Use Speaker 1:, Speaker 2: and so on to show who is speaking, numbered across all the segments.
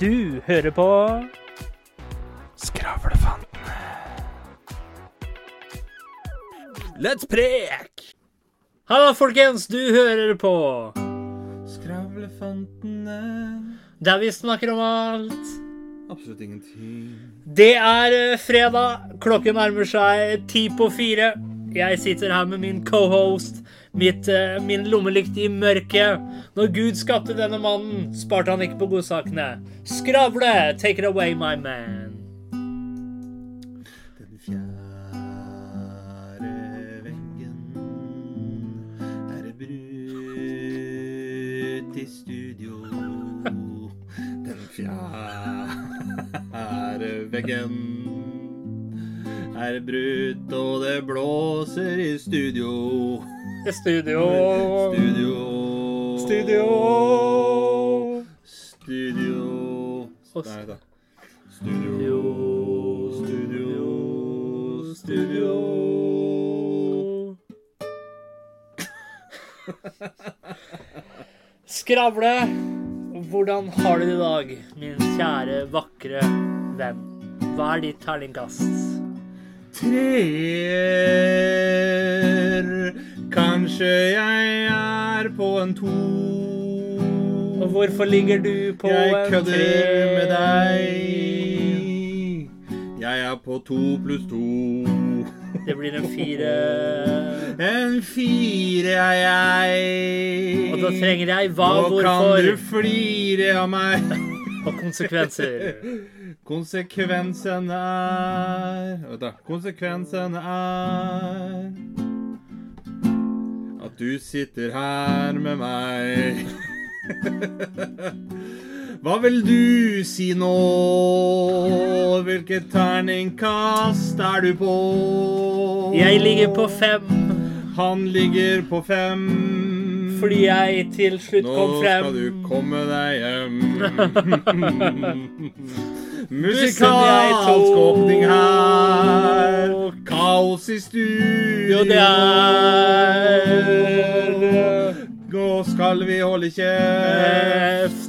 Speaker 1: Du hører på
Speaker 2: Skravlefantene. Let's prek!
Speaker 1: Hallo, folkens! Du hører på
Speaker 2: Skravlefantene
Speaker 1: der vi snakker om alt.
Speaker 2: Absolutt ingenting.
Speaker 1: Det er eh, fredag. Klokken nærmer seg ti på fire. Jeg sitter her med min cohost, mitt, eh, min lommelykt i mørket. Når Gud skapte denne mannen, sparte han ikke på godsakene. Skravle! Take it away, my man.
Speaker 2: Den fjerde veggen er brutt i studio. Den fjerde veggen er brutt, og det blåser i studio.
Speaker 1: Studio.
Speaker 2: Studio.
Speaker 1: Studio.
Speaker 2: Studio
Speaker 1: Og
Speaker 2: Nei, da. Studio Studio Studio
Speaker 1: Skravle, hvordan har du det i dag, min kjære, vakre venn? Hva er ditt terningkast?
Speaker 2: Treer Kanskje jeg er på en to
Speaker 1: Og hvorfor ligger du på
Speaker 2: Jeg
Speaker 1: en
Speaker 2: kødder
Speaker 1: tre?
Speaker 2: med deg Jeg er på to pluss to
Speaker 1: Det blir en fire.
Speaker 2: En fire er jeg.
Speaker 1: Og da trenger jeg hva,
Speaker 2: Nå kan du
Speaker 1: hvorfor
Speaker 2: flire av meg.
Speaker 1: og konsekvenser.
Speaker 2: Konsekvensen er Vent, da. Konsekvensen er at du sitter her med meg. Hva vil du si nå? Hvilket terningkast er du på?
Speaker 1: Jeg ligger på fem
Speaker 2: Han ligger på fem.
Speaker 1: fordi jeg til slutt
Speaker 2: Nå
Speaker 1: kom frem.
Speaker 2: skal du komme deg hjem.
Speaker 1: jeg
Speaker 2: Musikalsk
Speaker 1: tok.
Speaker 2: åpning her. Kaos i studio
Speaker 1: Jo, det er
Speaker 2: Nå skal vi holde kjeft,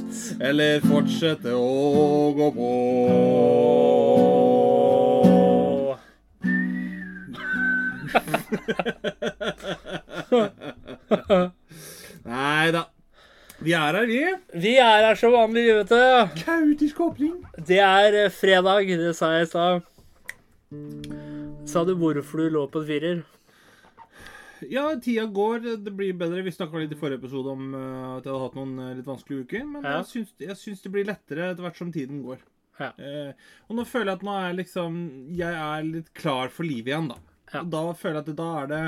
Speaker 1: Kjeft.
Speaker 2: eller fortsette å gå på. Nei da. Vi er her, vi.
Speaker 1: Vi er her som vanlig, vi, vet du.
Speaker 2: Kaotisk åpning.
Speaker 1: Det er eh, fredag, det sa jeg i stad. Sa du hvorfor du lå på en firer?
Speaker 2: Ja, tida går. Det blir bedre. Vi snakka litt i forrige episode om eh, at jeg hadde hatt noen eh, litt vanskelige uker. Men
Speaker 1: Ja.
Speaker 2: jeg, syns, jeg syns det blir lettere etter hvert som tiden går.
Speaker 1: Ja.
Speaker 2: Eh, og nå føler jeg at nå er jeg liksom Jeg er litt klar for livet igjen, da.
Speaker 1: Ja.
Speaker 2: Og da føler jeg at det, da er det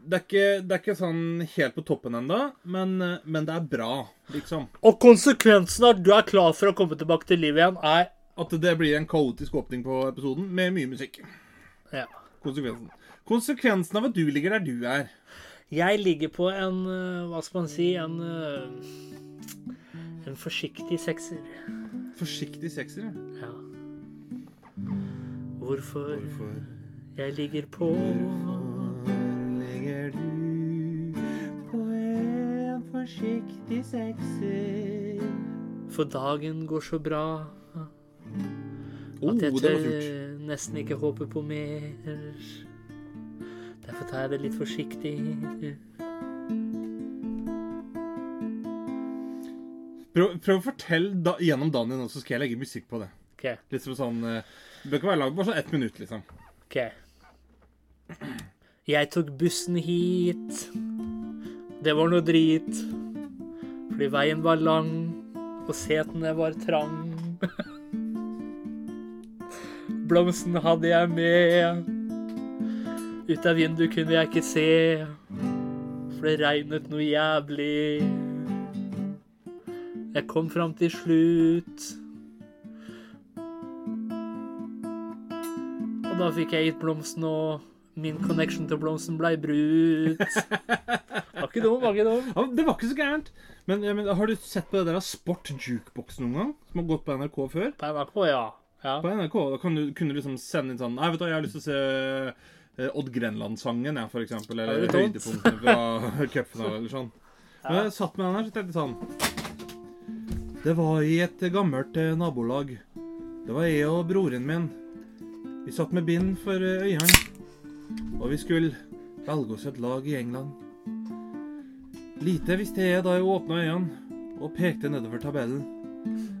Speaker 2: det er, ikke, det er ikke sånn helt på toppen ennå, men, eh, men det er bra, liksom.
Speaker 1: Og konsekvensen av at du er klar for å komme tilbake til livet igjen, er
Speaker 2: At det blir en kaotisk åpning på episoden med mye musikk.
Speaker 1: ja.
Speaker 2: Konsekvensen. Konsekvensen av at du ligger der du er.
Speaker 1: Jeg ligger på en eh, Hva skal man si En, eh, en forsiktig sekser.
Speaker 2: Forsiktig sekser. ja.
Speaker 1: Ja. Hvorfor
Speaker 2: Hvorfor?
Speaker 1: jeg ligger på
Speaker 2: ligger du på en forsiktig sekser?
Speaker 1: For dagen går så bra
Speaker 2: Oh,
Speaker 1: at jeg
Speaker 2: det var
Speaker 1: tør
Speaker 2: surt.
Speaker 1: nesten ikke håpe på mer. Derfor tar jeg det litt forsiktig.
Speaker 2: Prøv, prøv å fortelle da, gjennom dagen din, så skal jeg legge musikk på det.
Speaker 1: OK.
Speaker 2: Litt som sånn eh, Det bør ikke være langt, bare sånn ett minutt, liksom.
Speaker 1: ok. Jeg tok bussen hit. Det var noe drit. Fordi veien var lang, og setene var trang. Blomsten hadde jeg med. Ut av vinduet kunne jeg ikke se, for det regnet noe jævlig. Jeg kom fram til slutt. Og da fikk jeg gitt blomsten, og min connection til blomsten blei brutt. Var ikke dum, var ikke dum.
Speaker 2: Ja, det var ikke så gærent. Men, eh, men har du sett på det der av Sport Jukebox noen gang? Som har gått på NRK før?
Speaker 1: På NRK, ja. ja.
Speaker 2: På NRK da kan du, kunne du liksom sende inn sånn Nei, vet du hva, jeg har lyst til å se eh, Odd Grenland-sangen, jeg, for eksempel.
Speaker 1: Er
Speaker 2: Eller
Speaker 1: det dumt?
Speaker 2: høydepunktene fra cupfinalen eller sånn. Men jeg satt med den her, så tenkte jeg sånn Det var i et gammelt eh, nabolag. Det var jeg og broren min. Vi satt med bind for eh, øynene, og vi skulle velge oss et lag i England. Lite visste jeg da jeg åpna øynene og pekte nedover tabellen,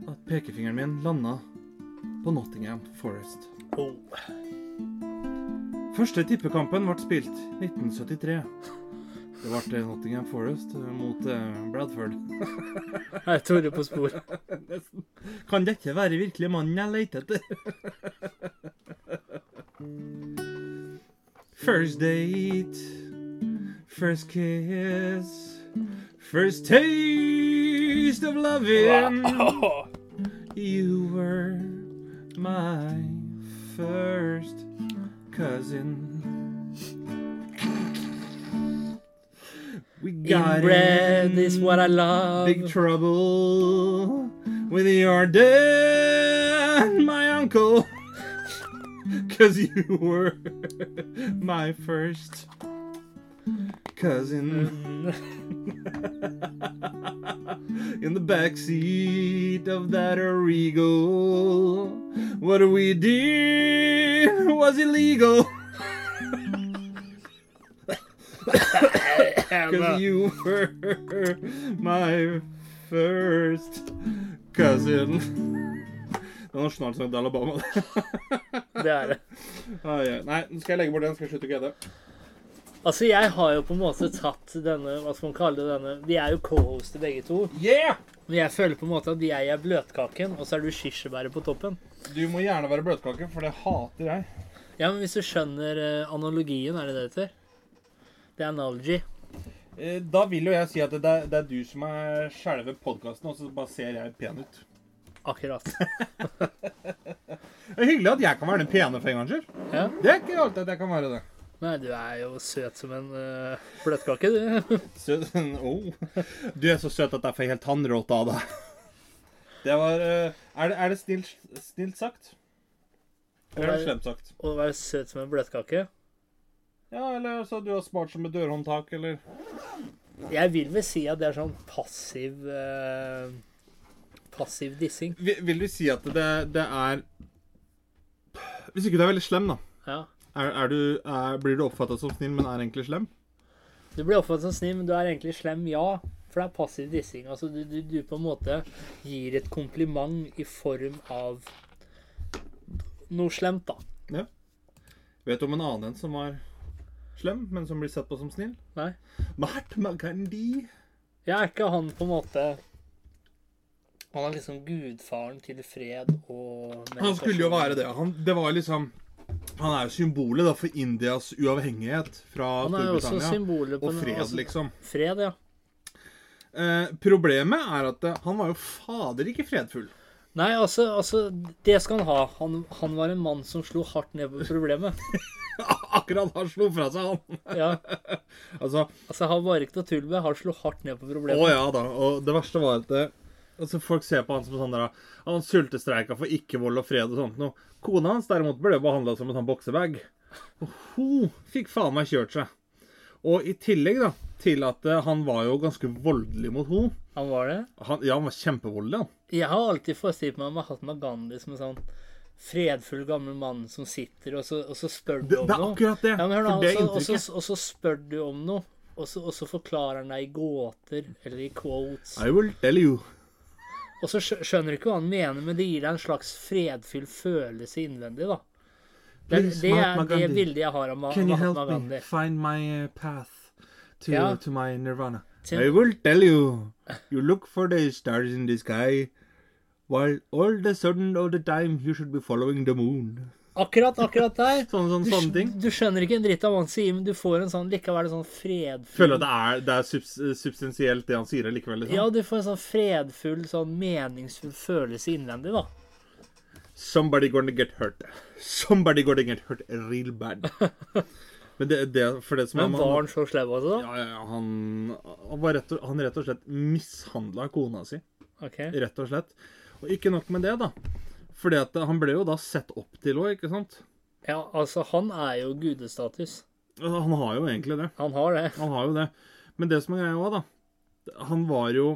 Speaker 2: at pekefingeren min landa på Nottingham Forest.
Speaker 1: Oh.
Speaker 2: Første tippekampen ble spilt 1973. Det ble Nottingham Forest eh, mot eh, Bradford.
Speaker 1: Her er Tore på spor.
Speaker 2: Nesten. Kan dette være virkelig mannen jeg leter etter? First date, first kiss, first taste of loving. You were my first cousin. We got
Speaker 1: Inbred
Speaker 2: in
Speaker 1: is what I love.
Speaker 2: Big trouble with your dad, my uncle. Cause you were my first cousin
Speaker 1: Mm.
Speaker 2: in the backseat of that regal. What we did was illegal. Cause you were my first cousin. Det er nasjonalsangen til Alabama. det.
Speaker 1: Det er det.
Speaker 2: Ai, ai. Nei, nå skal jeg legge bort den. Skal jeg slutte å kødde.
Speaker 1: Altså, jeg har jo på en måte tatt denne Hva skal man kalle det? denne Vi er jo co-hoster begge to.
Speaker 2: Yeah!
Speaker 1: Men jeg føler på en måte at jeg er bløtkaken, og så er du kirsebæret på toppen.
Speaker 2: Du må gjerne være bløtkake, for det hater jeg.
Speaker 1: Ja, men hvis du skjønner eh, analogien, er det det det heter? Det er analogy.
Speaker 2: Eh, Da vil jo jeg si at det er, det er du som er selve podkasten, og så bare ser jeg pen ut.
Speaker 1: Akkurat.
Speaker 2: Det er hyggelig at jeg kan være den pene for en gangs skyld.
Speaker 1: Ja.
Speaker 2: Det er ikke alltid at jeg kan være det.
Speaker 1: Nei, du er jo søt som en eh, bløtkake, du.
Speaker 2: Søt oh. Du er så søt at jeg får helt tannråte av deg. Det var eh, Er det, er det snilt, snilt sagt? Eller er det slemt sagt?
Speaker 1: Å være søt som en bløtkake.
Speaker 2: Ja, eller så du er smart som et dørhåndtak, eller
Speaker 1: Jeg vil vel si at det er sånn passiv eh, Passiv dissing.
Speaker 2: Vil vil du si at det, det er Hvis ikke du er veldig slem, da.
Speaker 1: Ja.
Speaker 2: Er, er du, er, blir du oppfatta som snill, men er egentlig slem?
Speaker 1: Du blir oppfattet som snill, men du er egentlig slem, ja. For det er passiv dissing. Altså, du, du, du på en måte gir et kompliment i form av noe slemt, da.
Speaker 2: Vet du om en annen en som var slem, men som blir sett på som snill?
Speaker 1: Nei.
Speaker 2: Mahatma Gandhi.
Speaker 1: Jeg er ikke han på en måte Han er liksom gudfaren til fred og
Speaker 2: Han skulle jo være det. Han, det var liksom Han er jo symbolet da, for Indias uavhengighet fra
Speaker 1: Han er jo også
Speaker 2: Storbritannia.
Speaker 1: symbolet på
Speaker 2: Og fred,
Speaker 1: altså,
Speaker 2: liksom.
Speaker 1: Fred, ja.
Speaker 2: Eh, problemet er at eh, han var jo fader ikke fredfull.
Speaker 1: Nei, altså, altså Det skal han ha. Han, han var en mann som slo hardt ned på problemet.
Speaker 2: Akkurat han slo fra seg, han.
Speaker 1: Ja,
Speaker 2: Altså,
Speaker 1: altså Han var ikke noe tull med. Han slo hardt ned på
Speaker 2: Å
Speaker 1: problemet.
Speaker 2: ja da. Og det verste var at eh, altså, folk ser på han som sånn der Han sultestreika for ikke-vold og fred og sånt noe. Kona hans derimot ble behandla som en sånn boksebag. Og hun fikk faen meg kjørt seg. Og i tillegg da, til at eh, han var jo ganske voldelig mot henne.
Speaker 1: Han var det.
Speaker 2: Han, ja, han var kjempevoldelig, han.
Speaker 1: Jeg har alltid forestilt meg Mahatma Gandhi som en sånn fredfull, gammel mann som sitter, og så, og så spør du
Speaker 2: Det,
Speaker 1: om
Speaker 2: det er
Speaker 1: noe.
Speaker 2: akkurat det.
Speaker 1: Ja, men hør da, altså,
Speaker 2: for det
Speaker 1: og så- og
Speaker 2: inntrykket.
Speaker 1: så- og så spør du om noe, og så, og så forklarer han deg i gåter eller i quotes.
Speaker 2: I will tell you.
Speaker 1: Og så skjø- skjønner du ikke hva han mener, men det gir deg en slags fredfull følelse innvendig, da. Det,
Speaker 2: Please,
Speaker 1: det er
Speaker 2: Mahatma
Speaker 1: det
Speaker 2: Gandhi.
Speaker 1: bildet jeg har av Ma-
Speaker 2: Can you
Speaker 1: Mahatma
Speaker 2: help me
Speaker 1: Gandhi.
Speaker 2: find my uh, path to,
Speaker 1: Ja.
Speaker 2: to my nirvana?
Speaker 1: Til-
Speaker 2: I will tell you. You look for the stars in the sky, while all the sudden all the time you should be following the moon.
Speaker 1: Akkurat, akkurat der.
Speaker 2: Sånn, sånn,
Speaker 1: Du,
Speaker 2: sånne ting.
Speaker 1: skj- du skjønner ikke en dritt av hva han sier, men du får en sånn likevel en sånn fredfull
Speaker 2: Føler at det er, det er subs eh, substansielt det han sier likevel. Liksom.
Speaker 1: Ja, du får en sånn fredfull, sånn meningsfull følelse innvendig, da.
Speaker 2: Somebody gonna get hurt. Somebody gonna get hurt real bad. Men det, det for det som
Speaker 1: Men
Speaker 2: er
Speaker 1: var han så slem, altså? da?
Speaker 2: ja, ja, ja, han, han, var rett og, han rett og slett mishandla kona si.
Speaker 1: OK.
Speaker 2: rett og slett. Og ikke nok med det, da. Fordi at han ble jo da sett opp til òg, ikke sant?
Speaker 1: Ja, altså, han er jo gudestatus.
Speaker 2: Altså, Han har jo egentlig det.
Speaker 1: Han har det.
Speaker 2: Han har jo det. Men det som er greia òg, da Han var jo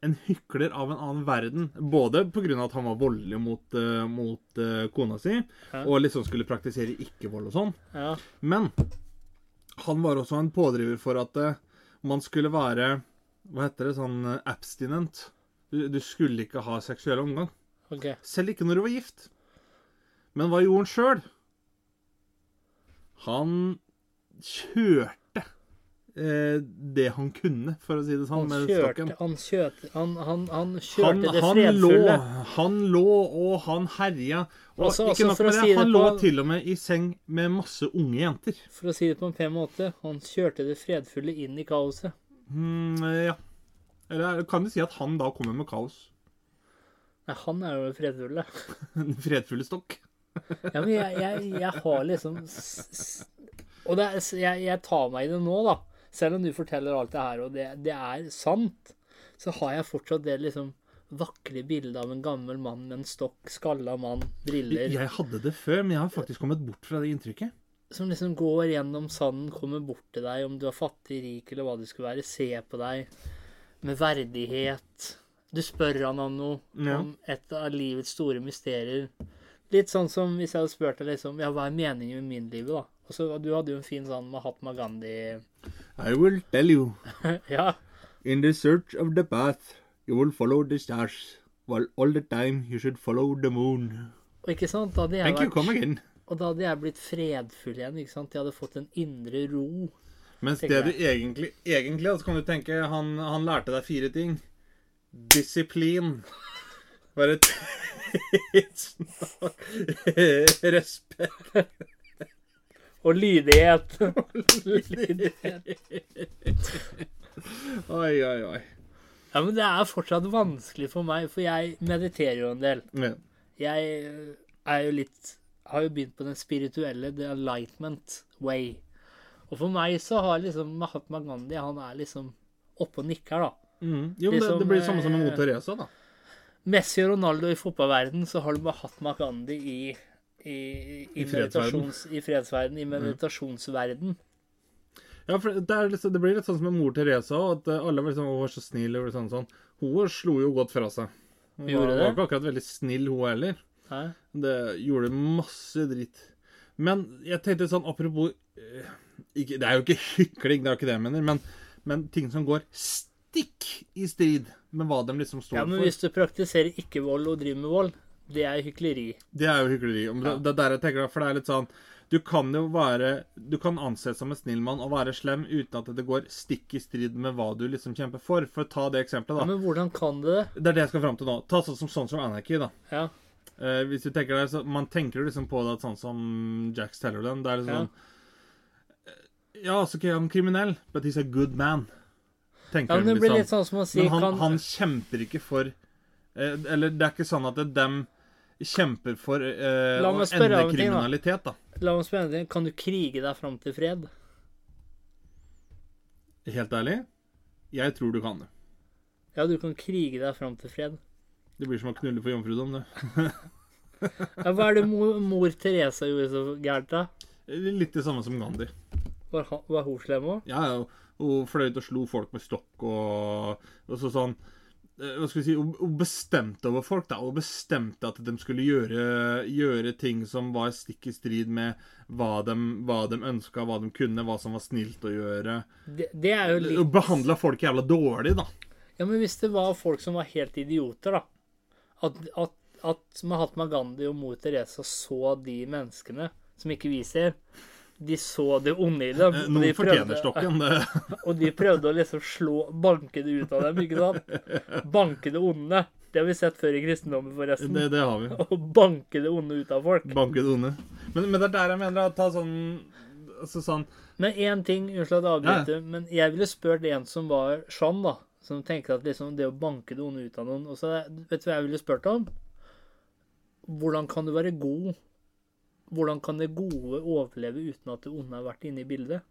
Speaker 2: en hykler av en annen verden. Både pga. at han var voldelig mot, eh, mot eh, kona si,
Speaker 1: Ja.
Speaker 2: og liksom skulle praktisere ikke-vold og sånn.
Speaker 1: Ja.
Speaker 2: Men han var også en pådriver for at eh, man skulle være Hva heter det? Sånn eh, abstinent. Du, du skulle ikke ha seksuell omgang.
Speaker 1: OK.
Speaker 2: Selv ikke når du var gift. Men hva gjorde han sjøl? Han kjørte eh, det han kunne, for å si det sånn,
Speaker 1: Han
Speaker 2: med
Speaker 1: kjørte,
Speaker 2: stokken.
Speaker 1: han kjørte, han, han, han
Speaker 2: Han,
Speaker 1: kjørte det
Speaker 2: han, lå,
Speaker 1: fredfulle.
Speaker 2: han lå og han herja. Og
Speaker 1: Også- også
Speaker 2: ikke nok
Speaker 1: altså for å
Speaker 2: med det,
Speaker 1: si det
Speaker 2: han lå
Speaker 1: på-
Speaker 2: til og med i seng med masse unge jenter.
Speaker 1: For å si det på en pen måte, han kjørte det fredfulle inn i kaoset.
Speaker 2: Mm, ja. Eller kan du si at han da kommer med kaos?
Speaker 1: Nei, han er jo det fredfulle.
Speaker 2: Den fredfulle stokk.
Speaker 1: Ja, men jeg, jeg, jeg har liksom s- s- Og det er, s- jeg, jeg tar meg i det nå, da. Selv om du forteller alt det her, og det, det er sant, så har jeg fortsatt det liksom vakre bildet av en gammel mann med en stokk, skalla mann, briller,
Speaker 2: Jeg hadde det før, men jeg har faktisk kommet bort fra det inntrykket.
Speaker 1: som liksom går gjennom sanden, kommer bort til deg, om du er fattig, rik eller hva du skulle være, ser på deg med verdighet. Du spør han om noe,
Speaker 2: Ja.
Speaker 1: om et av livets store mysterier. Litt sånn som hvis jeg hadde spurt deg liksom, ja, hva er meningen med min liv, da? Og så, Du hadde jo en fin sånn Mahatma Gandhi
Speaker 2: I will tell you.
Speaker 1: Ja.
Speaker 2: In the search of the path, you will follow the stars, while all the time you should follow the moon.
Speaker 1: Og ikke sant? Da hadde jeg
Speaker 2: Thank you, come
Speaker 1: vært,
Speaker 2: again.
Speaker 1: og da hadde jeg blitt fredfull igjen. ikke sant? Jeg hadde fått en indre ro.
Speaker 2: Mens det
Speaker 1: Tenker
Speaker 2: du egentlig, egentlig da, så kan du tenke, han, han lærte deg fire ting. Disiplin. Være tidsnok. Respekt.
Speaker 1: Og lydighet.
Speaker 2: Oi, oi, oi.
Speaker 1: Ja, men det er fortsatt vanskelig for meg, for jeg mediterer jo en del.
Speaker 2: Ja.
Speaker 1: Jeg eh, er jo litt Har jo begynt på den spirituelle the enlightenment way. Og for meg så har liksom Mahatma Gandhi Han er liksom oppe og nikker, da.
Speaker 2: Mm. Jo, men det,
Speaker 1: Liksom,
Speaker 2: det blir det samme som med
Speaker 1: eh,
Speaker 2: Mot Teresa, da.
Speaker 1: Messi og Ronaldo i fotballverden, så har du Mahatma Gandhi i i, i,
Speaker 2: I fredsverden.
Speaker 1: meditasjons, I fredsverden, i meditasjonsverden.
Speaker 2: Ja, for det, er liksom, det blir litt sånn som med mor Teresa, og at eh, alle var, liksom, «Å, var så snill. Og sånn, sånn. Hun slo jo godt fra seg. Hun
Speaker 1: Gjorde
Speaker 2: var,
Speaker 1: det?
Speaker 2: var ikke akkurat veldig snill, hun heller.
Speaker 1: Hæ?
Speaker 2: Det gjorde masse dritt. Men jeg tenkte sånn, apropos eh, ikke, Det er jo ikke hykling, det er jo ikke det jeg mener, men, men ting som går stikk i strid med hva de liksom står
Speaker 1: Ja, men
Speaker 2: for.
Speaker 1: hvis du praktiserer ikke-vold og driver med vold, det er hykleri.
Speaker 2: Det er jo hykleri. Men det, det er der jeg tenker, da, for det er litt sånn Du kan jo være Du kan anses som en snill mann og være slem uten at det går stikk i strid med hva du liksom kjemper for. For ta det eksempelet,
Speaker 1: Ja,
Speaker 2: da.
Speaker 1: men hvordan kan du det?
Speaker 2: Det er det jeg skal fram til nå. Ta sånn som, sånn som Anarchy, da.
Speaker 1: Ja.
Speaker 2: Eh, hvis du tenker deg, så Man tenker jo liksom på det at sånn som Jack Tellerland. Det er liksom
Speaker 1: Ja.
Speaker 2: sånn eh, Ja, så er han kriminell, but he's a good man.
Speaker 1: Ja,
Speaker 2: Tenker
Speaker 1: men
Speaker 2: de
Speaker 1: det blir litt sånn som å si
Speaker 2: men han,
Speaker 1: kan,
Speaker 2: han kjemper ikke for eh, Eller det er ikke sånn at det- dem kjemper for eh,
Speaker 1: La
Speaker 2: å
Speaker 1: meg spørre
Speaker 2: endre
Speaker 1: om en ting, da.
Speaker 2: kriminalitet, da.
Speaker 1: La meg spørre deg, kan du krige deg fram til fred?
Speaker 2: Helt ærlig, jeg tror du kan det.
Speaker 1: Ja, du kan krige deg fram til fred.
Speaker 2: Det blir som å knulle for jomfrudom, det.
Speaker 1: Ja, hva er det mor, mor Teresa gjorde så gærent, da?
Speaker 2: Eh, Litt det samme som Gandhi.
Speaker 1: Var, han- var hun slem òg?
Speaker 2: Ja, ja, hun fløy ut og slo folk med stokk og, og så sånn eh, Hva skal vi si Hun hun bestemte over folk, da. Hun bestemte at de skulle gjøre, gjøre ting som var stikk i strid med hva de, hva de ønska, hva de kunne, hva som var snilt å gjøre.
Speaker 1: Det, det er jo litt
Speaker 2: Hun behandla folk jævla dårlig, da.
Speaker 1: Ja, men hvis det var folk som var helt idioter, da At, at, at Mahatma Gandhi og mor Teresa så de menneskene som ikke vi ser. De så det onde i dem.
Speaker 2: Eh,
Speaker 1: og de prøvde-
Speaker 2: Noen fortjener stokken. Det.
Speaker 1: Og de prøvde å liksom slå Banke det ut av dem, ikke sant? Banke det onde. Det har vi sett før i kristendommen, forresten.
Speaker 2: det, det har vi.
Speaker 1: Å banke det onde ut av folk.
Speaker 2: Banket onde. Men, men det er der jeg mener å ta sånn altså sånn
Speaker 1: Men én ting Unnskyld at jeg avbryter, men jeg ville spurt en som var Jeanne, da. Som tenkte at liksom det å banke det onde ut av noen og så er- Vet du hva jeg ville spurt om? Hvordan kan du være god? Hvordan kan det gode overleve uten at det onde har vært inne i bildet?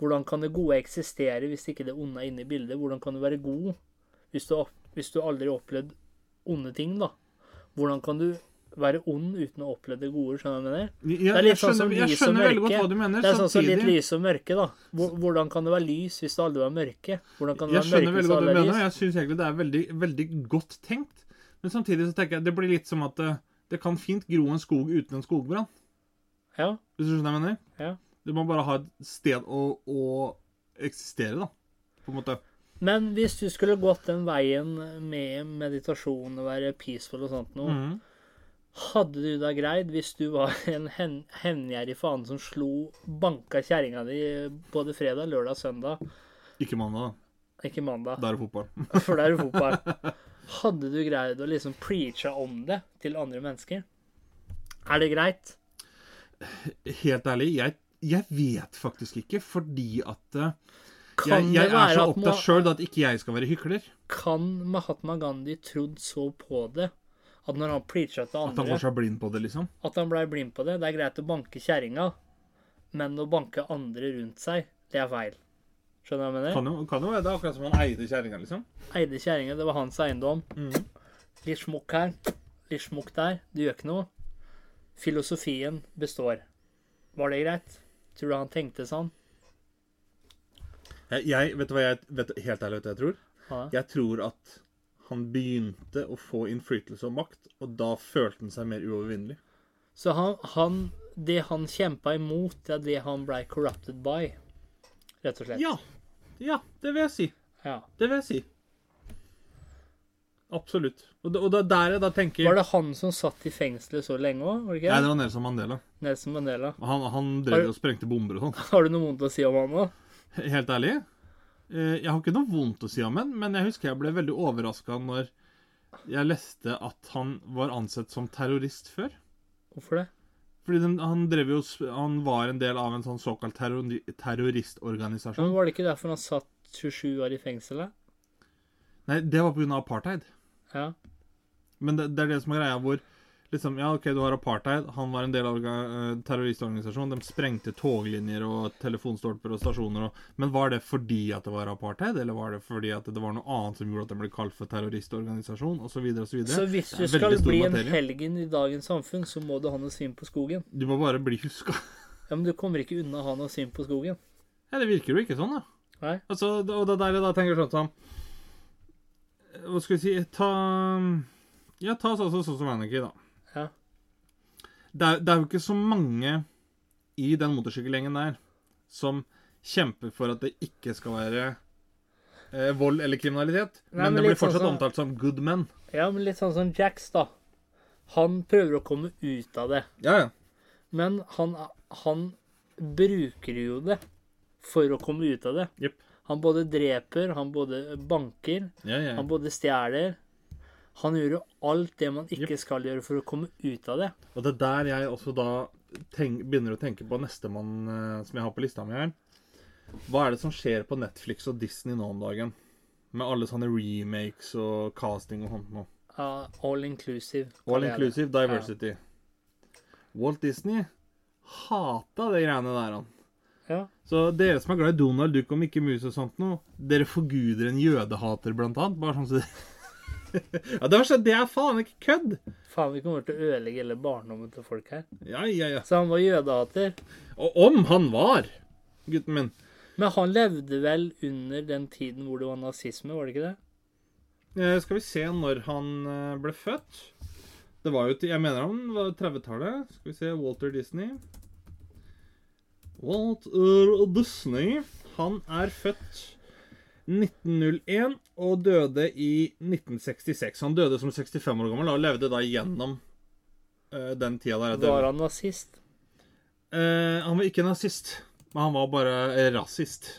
Speaker 1: Hvordan kan det gode eksistere hvis ikke det onde er inne i bildet? Hvordan kan du være god hvis du, har- hvis du aldri har opplevd onde ting, da? Hvordan kan du være ond uten å oppleve det gode. skjønner du hva jeg mener?
Speaker 2: Jeg,
Speaker 1: Det er
Speaker 2: jeg
Speaker 1: litt sånn som
Speaker 2: skjønner, jeg
Speaker 1: lys og
Speaker 2: skjønner veldig godt
Speaker 1: mørke.
Speaker 2: hva du mener.
Speaker 1: Det er sånn som litt
Speaker 2: Samtidig
Speaker 1: lys og mørke, da. Hvor- Hvordan kan det være lys hvis det aldri var mørke? Hvordan kan det
Speaker 2: Jeg
Speaker 1: være
Speaker 2: skjønner
Speaker 1: mørke
Speaker 2: veldig
Speaker 1: hvis det
Speaker 2: godt hva
Speaker 1: aldri er
Speaker 2: du mener, og
Speaker 1: lys?
Speaker 2: jeg syns egentlig det er veldig, veldig godt tenkt. Men samtidig så tenker jeg det blir litt som at eh, det kan fint gro en skog uten en skogbrann.
Speaker 1: Ja,
Speaker 2: Hvis du skjønner hva jeg mener?
Speaker 1: ja.
Speaker 2: Du må bare ha et sted å, å eksistere, da. På en måte.
Speaker 1: Men hvis du skulle gått den veien med meditasjon og være peaceful og sånt noe,
Speaker 2: Mhm.
Speaker 1: hadde du da greid hvis du var en hen- hevngjerrig faen som slo banka kjerringa di både fredag, lørdag, søndag,
Speaker 2: Ikke mandag,
Speaker 1: ikke mandag?
Speaker 2: da. Da er det fotball.
Speaker 1: For det er jo fotball. Hadde du greid å liksom preache om det til andre mennesker? Er det greit?
Speaker 2: Helt ærlig, jeg, jeg vet faktisk ikke, fordi at eh, jeg,
Speaker 1: Kan
Speaker 2: jeg
Speaker 1: det
Speaker 2: er
Speaker 1: være
Speaker 2: så
Speaker 1: at
Speaker 2: opptatt
Speaker 1: Ma
Speaker 2: sjøl at ikke jeg skal være hykler.
Speaker 1: kan Mahatma Gandhi trodd så på det at når han preacha til
Speaker 2: At han
Speaker 1: andre,
Speaker 2: går seg blind på det, liksom.
Speaker 1: at han blei blind på det? Det er greit å banke kjerringa, men å banke andre rundt seg, det er feil. Skjønner du hva jeg mener?
Speaker 2: Kan jo, kan jo være det, akkurat som han eide kjerringa, liksom.
Speaker 1: Eide kjerringa, det var hans eiendom.
Speaker 2: Mhm.
Speaker 1: Litt smokk her, litt smokk der. Det gjør ikke noe. Filosofien består. Var det greit? Tror du han tenkte sånn?
Speaker 2: Jeg, jeg, vet du hva jeg vet, Helt ærlig, vet du hva jeg tror?
Speaker 1: Ja.
Speaker 2: Jeg tror at han begynte å få innflytelse og makt, og da følte han seg mer uovervinnelig.
Speaker 1: Så han, han Det han kjempa imot, det er det han blei corrupted by, rett og slett.
Speaker 2: Ja. Ja, det vil jeg si.
Speaker 1: Ja.
Speaker 2: Det vil jeg si. Absolutt. Og, det- og det er der jeg da tenker
Speaker 1: Var det han som satt i fengselet så lenge òg? Var det ikke?
Speaker 2: Nei, det var Nelson Mandela.
Speaker 1: Nelson Mandela.
Speaker 2: Han, han
Speaker 1: Har
Speaker 2: drev
Speaker 1: du-
Speaker 2: og sprengte bomber og sånn.
Speaker 1: Har du noe vondt å si om han nå?
Speaker 2: Helt ærlig, eh, jeg har ikke noe vondt å si om ham, men jeg husker jeg ble veldig overraska når jeg leste at han var ansett som terrorist før.
Speaker 1: Hvorfor det?
Speaker 2: Fordi den, han, drev jo, s- han var en del av en sånn såkalt terror,
Speaker 1: Ja,
Speaker 2: terroristorganisasjon.
Speaker 1: Men Var det ikke derfor han satt 27 år i fengselet?
Speaker 2: Nei, det var pga. apartheid.
Speaker 1: Ja.
Speaker 2: Men det, det er det som er greia, hvor liksom, Ja, OK, du har apartheid. Han var en del av orga- eh, terroristorganisasjonen. De sprengte toglinjer og telefonstolper og stasjoner og Men var det fordi at det var apartheid, eller var det fordi at det var noe annet som gjorde at de ble kalt for terroristorganisasjon, osv., osv.?
Speaker 1: Så hvis du skal bli en helgen i dagens samfunn, så må du ha noe svin på skogen.
Speaker 2: Du må bare bli huska.
Speaker 1: Ja, Men du kommer ikke unna å ha noe svin på skogen.
Speaker 2: Ja, det virker jo ikke sånn, da.
Speaker 1: Nei?
Speaker 2: Altså, og det er der jeg da tenker sånn som Hva skal vi si Ta Ja, ta sånn som- sånn som Anarchy, da.
Speaker 1: Ja.
Speaker 2: Det er, det er jo ikke så mange i den motorsykkelgjengen der som kjemper for at det ikke skal være eh, vold eller kriminalitet.
Speaker 1: Nei,
Speaker 2: men
Speaker 1: men
Speaker 2: det blir
Speaker 1: litt sånn
Speaker 2: fortsatt
Speaker 1: som-
Speaker 2: omtalt som good men.
Speaker 1: ja, men litt sånn som Jax, da. Han prøver å komme ut av det.
Speaker 2: Ja, ja.
Speaker 1: Men han, han bruker jo det for å komme ut av det.
Speaker 2: Jepp.
Speaker 1: Han både dreper, han både banker,
Speaker 2: ja, ja.
Speaker 1: han både stjeler. Han gjør jo alt det man ikke skal gjøre for å komme ut av det.
Speaker 2: Og det er der jeg også da tenk, begynner å tenke på nestemann eh, som jeg har på lista mi her. Hva er det som skjer på Netflix og Disney nå om dagen? Med alle sånne remakes og casting og sånt noe.
Speaker 1: Ja, all inclusive.
Speaker 2: All
Speaker 1: kaller jeg det.
Speaker 2: inclusive diversity. Walt Disney hata de greiene der, han.
Speaker 1: Ja.
Speaker 2: Så dere som er glad i Donald Duck og Mickey Mouse og sånt noe, dere forguder en jødehater, blant annet. Bare sånn så Ja, det, var så, det er faen ikke kødd!
Speaker 1: Faen, vi kommer til å ødelegge hele barndommen til folk her.
Speaker 2: Ja, ja, ja.
Speaker 1: Så han var jødehater.
Speaker 2: Og om han var, gutten min
Speaker 1: Men han levde vel under den tiden hvor det var nazisme, var det ikke det?
Speaker 2: Eh, Skal vi se når han eh, ble født. Det var jo til, Jeg mener han var 30-tallet. Skal vi se Walter Disney. Walter Disney. Han er født 1901 og døde i 1966. Han døde som 65 år gammel og levde da gjennom eh, den tida der. jeg døde.
Speaker 1: Var han nazist?
Speaker 2: Eh, han var ikke nazist, men han var bare eh, rasist,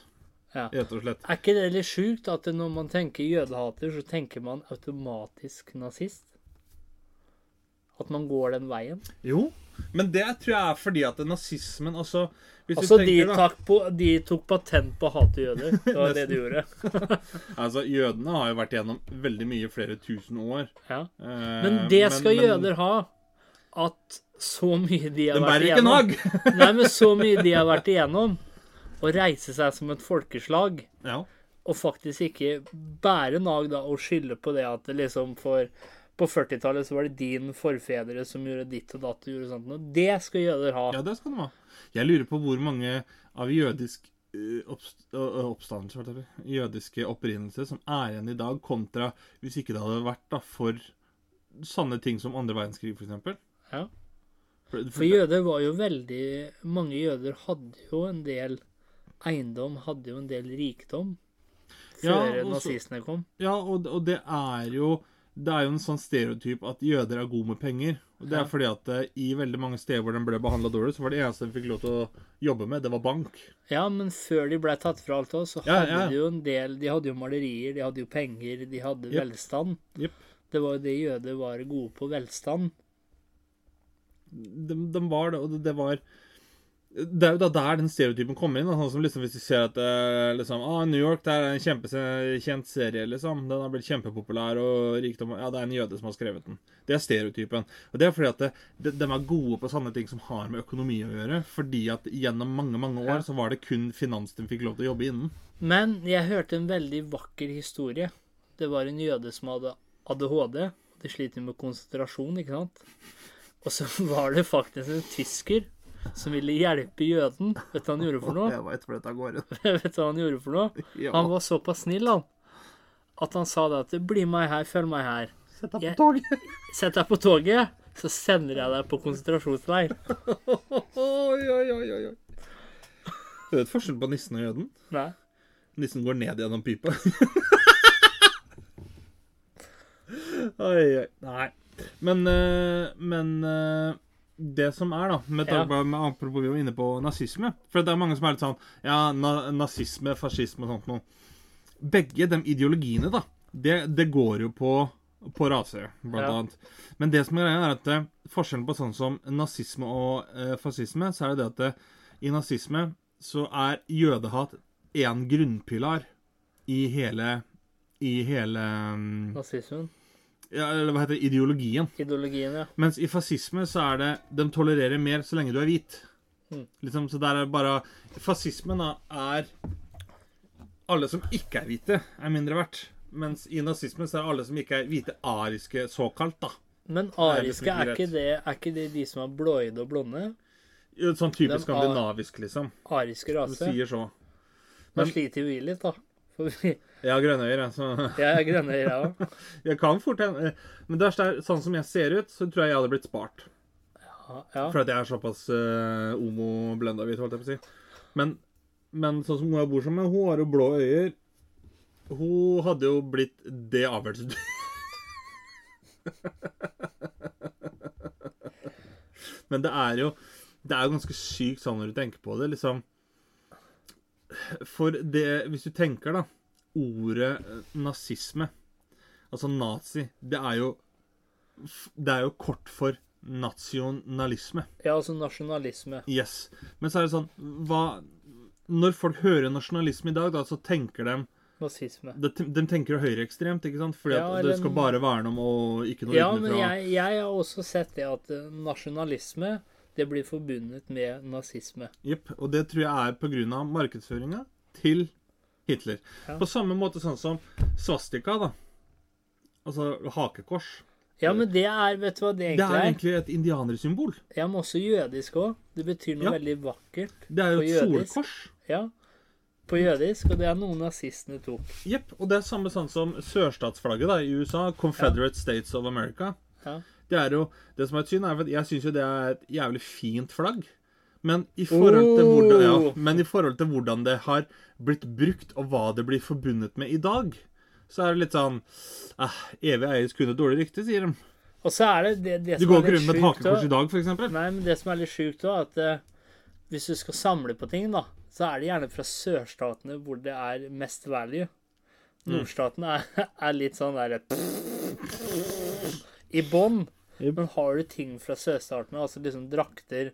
Speaker 1: Ja.
Speaker 2: rett og slett.
Speaker 1: Er ikke det litt sjukt at når man tenker jødehater, så tenker man automatisk nazist? At man går den veien?
Speaker 2: Jo, men det tror jeg er fordi at nazismen Altså, hvis
Speaker 1: Altså,
Speaker 2: du
Speaker 1: de,
Speaker 2: tenker da
Speaker 1: tok på, de tok patent på å hate jøder. Det var det de gjorde.
Speaker 2: Altså, Jødene har jo vært gjennom veldig mye flere tusen år.
Speaker 1: Ja.
Speaker 2: Eh,
Speaker 1: Men det skal
Speaker 2: men-
Speaker 1: jøder ha. At så mye de har
Speaker 2: Den
Speaker 1: vært
Speaker 2: bærer ikke
Speaker 1: igjennom
Speaker 2: nag!
Speaker 1: Nei, men så mye de har vært igjennom. Å reise seg som et folkeslag.
Speaker 2: ja.
Speaker 1: og faktisk ikke bære nag da, og skylde på det at det liksom for På 40-tallet så var det din forfedre som gjorde ditt og datt og gjorde sånt. Og det skal jøder ha.
Speaker 2: Ja, det skal de ha. Jeg lurer på hvor mange av jødisk eh, oppst ø- ø- oppstandelse, hva heter det? jødiske opprinnelse som er igjen i dag, kontra hvis ikke det hadde vært da, for sanne ting som andre verdenskrig, for eksempel.
Speaker 1: Ja.
Speaker 2: For, for,
Speaker 1: For jøder var jo veldig Mange jøder hadde jo en del eiendom, hadde jo en del rikdom. Før
Speaker 2: Ja, og så-
Speaker 1: nazistene kom.
Speaker 2: ja, og, og det er jo det er jo en sånn stereotyp at jøder er gode med penger. Og Det
Speaker 1: Ja.
Speaker 2: er fordi at eh, i veldig mange steder hvor de ble behandla dårlig, så var det eneste de fikk lov til å jobbe med, det var bank.
Speaker 1: Ja, men før de ble tatt fra alt oss, så
Speaker 2: Ja,
Speaker 1: hadde
Speaker 2: ja.
Speaker 1: de jo en del De hadde jo malerier, de hadde jo penger, de hadde
Speaker 2: Jep.
Speaker 1: velstand.
Speaker 2: Jep.
Speaker 1: Det var jo det jøder var gode på, velstand.
Speaker 2: de, de var det, og det, det var det er jo da der den stereotypen kommer inn. da, Sånn som liksom Hvis du ser at eh, liksom, ah, New York det er en kjempekjent serie, liksom. Den har blitt kjempepopulær, og rikdom Ja, det er en jøde som har skrevet den. Det er stereotypen. Og det er fordi at det, de, de er gode på sånne ting som har med økonomi å gjøre. Fordi at gjennom mange, mange
Speaker 1: Ja.
Speaker 2: år så var det kun finans de fikk lov til å jobbe innen.
Speaker 1: Men jeg hørte en veldig vakker historie. Det var en jøde som hadde ADHD. De sliter med konsentrasjon, ikke sant? Og så var det faktisk en tysker som ville hjelpe jøden. Vet du hva han gjorde for noe?
Speaker 2: Jeg vet hvor dette går hen.
Speaker 1: Vet du hva han gjorde for noe?
Speaker 2: Ja.
Speaker 1: Han var såpass snill, han, at han sa det at 'bli meg her, følg meg her'.
Speaker 2: Sett deg
Speaker 1: Jeg-
Speaker 2: på toget.
Speaker 1: Sett deg på toget, så sender jeg deg på konsentrasjonsleir.
Speaker 2: Oi, oi, oi, oi, oi. Du vet forskjellen på nissen og jøden?
Speaker 1: Nei.
Speaker 2: Nissen går ned gjennom pipa. oi, oi. Nei. Men, eh, men eh, det som er, da med
Speaker 1: Ja.
Speaker 2: tanke på med Apropos vi var inne på nazisme. For det er mange som er litt sånn Ja, na nazisme, fascisme og sånt noe. Begge de ideologiene, da, det, det går jo på, på raser, blant
Speaker 1: Ja.
Speaker 2: annet. Men det som er greia, er at eh, forskjellen på sånn som nazisme og eh, fascisme, så er det det at eh, i nazisme så er jødehat én grunnpilar i hele I hele mm,
Speaker 1: Nazismen.
Speaker 2: ja, Eller hva heter det? Ideologien.
Speaker 1: Ideologien, ja.
Speaker 2: Mens i fascisme så er det De tolererer mer så lenge du er hvit.
Speaker 1: Mm.
Speaker 2: Liksom, så der er bare Fascismen da er Alle som ikke er hvite, er mindre verdt. Mens i nazismen så er alle som ikke er hvite, ariske såkalt, da.
Speaker 1: Men
Speaker 2: det
Speaker 1: ariske,
Speaker 2: er
Speaker 1: er
Speaker 2: greit.
Speaker 1: ikke det, er ikke det de som er blåøyde og blonde?
Speaker 2: Sånn typisk
Speaker 1: Dem er-
Speaker 2: skandinavisk, liksom.
Speaker 1: Ariske
Speaker 2: Du
Speaker 1: rase?
Speaker 2: sier så.
Speaker 1: Da
Speaker 2: Men-
Speaker 1: sliter vi litt, da. For vi,
Speaker 2: Jeg har grønne øyne, så
Speaker 1: jeg er grønnøyer, jeg òg.
Speaker 2: jeg kan fort hende Men det verste er, sånn som jeg ser ut, så tror jeg jeg hadde blitt spart.
Speaker 1: Ja.
Speaker 2: For at jeg er såpass uh, homo-blenda hvit, holdt jeg på å si. Men, men sånn som hun jeg bor sammen med, hun har jo blå øyer. Hun hadde jo blitt det avgjørelsen. men det er jo Det er jo ganske sykt sånn når du tenker på det, liksom. For det Hvis du tenker, da. Ordet eh, nazisme, altså nazi, det er jo Det er jo kort for nasjonalisme.
Speaker 1: ja, altså nasjonalisme.
Speaker 2: Yes. Men så er det sånn hva, Når folk hører nasjonalisme i dag, da, så tenker de
Speaker 1: Nazisme.
Speaker 2: De, de tenker jo høyreekstremt, ikke sant? Fordi
Speaker 1: Ja,
Speaker 2: at
Speaker 1: eller-
Speaker 2: det skal bare verne om og ikke noe
Speaker 1: Ja, men
Speaker 2: utenfra.
Speaker 1: jeg, jeg har også sett det at eh, nasjonalisme det blir forbundet med nazisme.
Speaker 2: Jepp. Og det tror jeg er pga. markedsføringa til Hitler.
Speaker 1: Ja.
Speaker 2: På samme måte sånn som svastika, da. Altså hakekors.
Speaker 1: Ja, men det er Vet du hva det
Speaker 2: Det er
Speaker 1: egentlig er?
Speaker 2: egentlig et indianersymbol.
Speaker 1: Ja, men også jødisk òg. Det betyr noe
Speaker 2: Ja.
Speaker 1: veldig vakkert.
Speaker 2: Det er jo
Speaker 1: På
Speaker 2: et
Speaker 1: jødisk.
Speaker 2: solkors.
Speaker 1: Ja. På jødisk, og det er noe nazistene tok.
Speaker 2: Jepp. Og det er samme sånn som sørstatsflagget da, i USA. Confederate States of America.
Speaker 1: Ja.
Speaker 2: Det er jo, det som er et syn, er at jeg syns jo det er et jævlig fint flagg. Men i, forhold til hvordan, ja,
Speaker 1: Oh.
Speaker 2: men i forhold til hvordan det har blitt brukt, og hva det blir forbundet med i dag, så er det litt sånn eh, Evig eies kunne dårlig rykte, sier de.
Speaker 1: Og så er det det, det
Speaker 2: Du
Speaker 1: som
Speaker 2: går
Speaker 1: er
Speaker 2: ikke
Speaker 1: litt
Speaker 2: rundt med et
Speaker 1: sjukt
Speaker 2: hakekors
Speaker 1: òg.
Speaker 2: i dag, f.eks.
Speaker 1: Nei, men det som er litt sjukt òg, at eh, hvis du skal samle på ting, da, så er det gjerne fra sørstatene hvor det er mest value.
Speaker 2: Mm.
Speaker 1: Nordstatene er, er litt sånn derre I bånn.
Speaker 2: Jep.
Speaker 1: Men har du ting fra sørstatene, altså liksom drakter,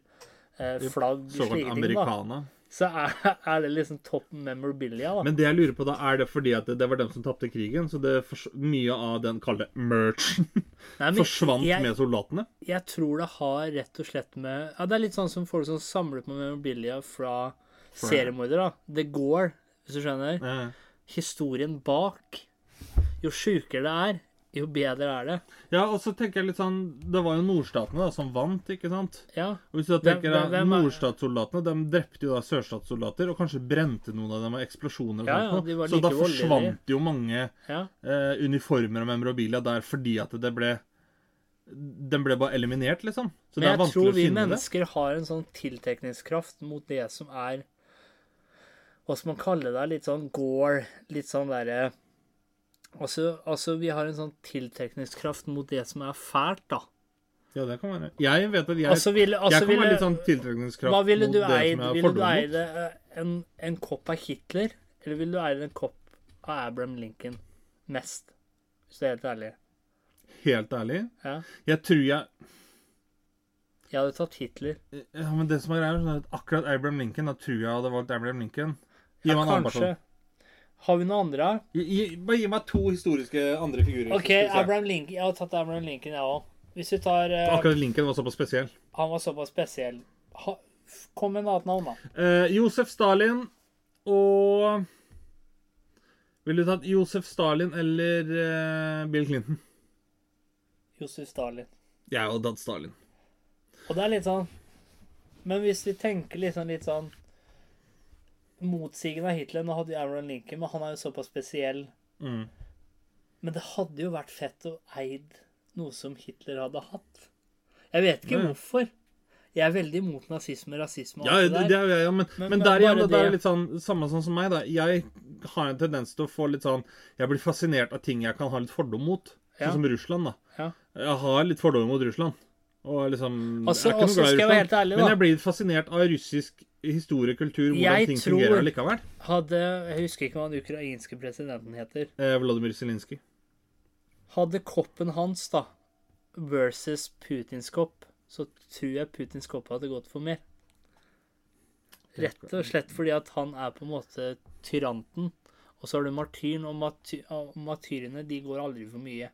Speaker 1: eh, flagg,
Speaker 2: Såkalt
Speaker 1: slike ting, da,
Speaker 2: americana.
Speaker 1: så er, er det liksom topp memorabilia, da.
Speaker 2: Men det jeg lurer på da, er det fordi at det, det var dem som tapte krigen? Så det fors- mye av den kalde merchen
Speaker 1: Nei, men
Speaker 2: forsvant
Speaker 1: jeg-
Speaker 2: med soldatene?
Speaker 1: Jeg tror det har rett og slett med Ja, det er litt sånn som folk som samler på memorabilia fra seriemordere, da. Det går, hvis du skjønner.
Speaker 2: Eh,
Speaker 1: Historien bak. Jo sjukere det er, jo bedre er det.
Speaker 2: Ja, og så tenker jeg litt sånn Det var jo nordstatene da som vant, ikke sant?
Speaker 1: Ja.
Speaker 2: Og hvis du da
Speaker 1: Hvem-
Speaker 2: tenker deg
Speaker 1: hvem- hvem er-
Speaker 2: Nordstatssoldatene de drepte jo da sørstatssoldater, og kanskje brente noen av dem av eksplosjoner. og
Speaker 1: Ja,
Speaker 2: sånt
Speaker 1: ja,
Speaker 2: noe.
Speaker 1: de var
Speaker 2: så
Speaker 1: like
Speaker 2: da
Speaker 1: voldelige.
Speaker 2: forsvant jo mange
Speaker 1: ja.
Speaker 2: eh, uniformer og memorabilia der fordi at det ble Den ble bare eliminert, liksom. Så det
Speaker 1: Men
Speaker 2: er
Speaker 1: jeg
Speaker 2: vanskelig
Speaker 1: tror
Speaker 2: å
Speaker 1: vi
Speaker 2: finne det.
Speaker 1: mennesker har en sånn tiltrekningskraft mot det som er Hva skal man kalle det? Litt sånn gore. Litt sånn derre altså, altså, vi har en sånn tiltrekningskraft mot det som er fælt, da.
Speaker 2: Ja, det kan være. Jeg vet at jeg,
Speaker 1: Altså, ville, altså,
Speaker 2: jeg kan være
Speaker 1: ville,
Speaker 2: litt sånn tiltrekningskraft
Speaker 1: hva ville
Speaker 2: mot
Speaker 1: du
Speaker 2: det
Speaker 1: eid?
Speaker 2: som jeg har
Speaker 1: Ville du
Speaker 2: fordommer
Speaker 1: eid
Speaker 2: mot.
Speaker 1: eh, en, en kopp av Hitler? Eller ville du eid en kopp av Abraham Lincoln? Mest. Hvis du er helt ærlig.
Speaker 2: Helt ærlig.
Speaker 1: Ja.
Speaker 2: Jeg tror jeg eh,
Speaker 1: Jeg hadde tatt Hitler.
Speaker 2: Ja, men det som er greia, er sånn at akkurat Abraham Lincoln, da tror jeg hadde valgt Abraham Lincoln. Gi
Speaker 1: Ja,
Speaker 2: meg en annen person.
Speaker 1: kanskje. Har vi noen andre?
Speaker 2: Gi, gi, bare gi meg to historiske andre figurer. så
Speaker 1: OK,
Speaker 2: skal vi se.
Speaker 1: Abraham Lincoln. Jeg har tatt Abraham Lincoln, jeg òg. Hvis vi tar eh,
Speaker 2: Akkurat Lincoln var såpass spesiell.
Speaker 1: Han var såpass spesiell. Ha, f- kom med et annet navn, da.
Speaker 2: Eh, Josef Stalin og Ville du tatt Josef Stalin eller eh, Bill Clinton?
Speaker 1: Josef Stalin.
Speaker 2: Jeg hadde tatt Stalin.
Speaker 1: Og det er litt sånn Men hvis vi tenker litt sånn, litt sånn Motsigende av Hitler. Nå hadde jo Abraham Lincoln, men han er jo såpass spesiell.
Speaker 2: Mm.
Speaker 1: Men det hadde jo vært fett å eid noe som Hitler hadde hatt. Jeg vet ikke
Speaker 2: Ja, ja.
Speaker 1: hvorfor. Jeg er veldig imot nazisme, rasisme og
Speaker 2: Ja,
Speaker 1: alt
Speaker 2: det,
Speaker 1: det
Speaker 2: det
Speaker 1: der.
Speaker 2: er jo jeg, ja, men,
Speaker 1: Men-
Speaker 2: men,
Speaker 1: men
Speaker 2: der igjen,
Speaker 1: bare
Speaker 2: da, det er
Speaker 1: det-
Speaker 2: litt sånn samme sånn som meg, da. Jeg har en tendens til å få litt sånn Jeg blir fascinert av ting jeg kan ha litt fordom mot.
Speaker 1: Ja.
Speaker 2: Sånn som Russland, da.
Speaker 1: Ja.
Speaker 2: Jeg har litt fordommer mot Russland. Og liksom
Speaker 1: Altså-
Speaker 2: Jeg er ikke
Speaker 1: altså,
Speaker 2: noe glad
Speaker 1: skal jeg være
Speaker 2: i Russland.
Speaker 1: helt ærlig, da?
Speaker 2: men jeg blir fascinert av russisk historie, kultur, hvordan
Speaker 1: Jeg
Speaker 2: ting
Speaker 1: tror-
Speaker 2: fungerer likevel.
Speaker 1: Hadde Jeg husker ikke hva den ukrainske presidenten heter.
Speaker 2: Eh, Vladimir Zelinskyj.
Speaker 1: Hadde koppen hans, da, versus Putins kopp, så tror jeg Putins kopp hadde gått for mer. Rett og slett fordi at han er på en måte tyranten, og så har du martyren, og, marty og martyrene de går aldri for mye.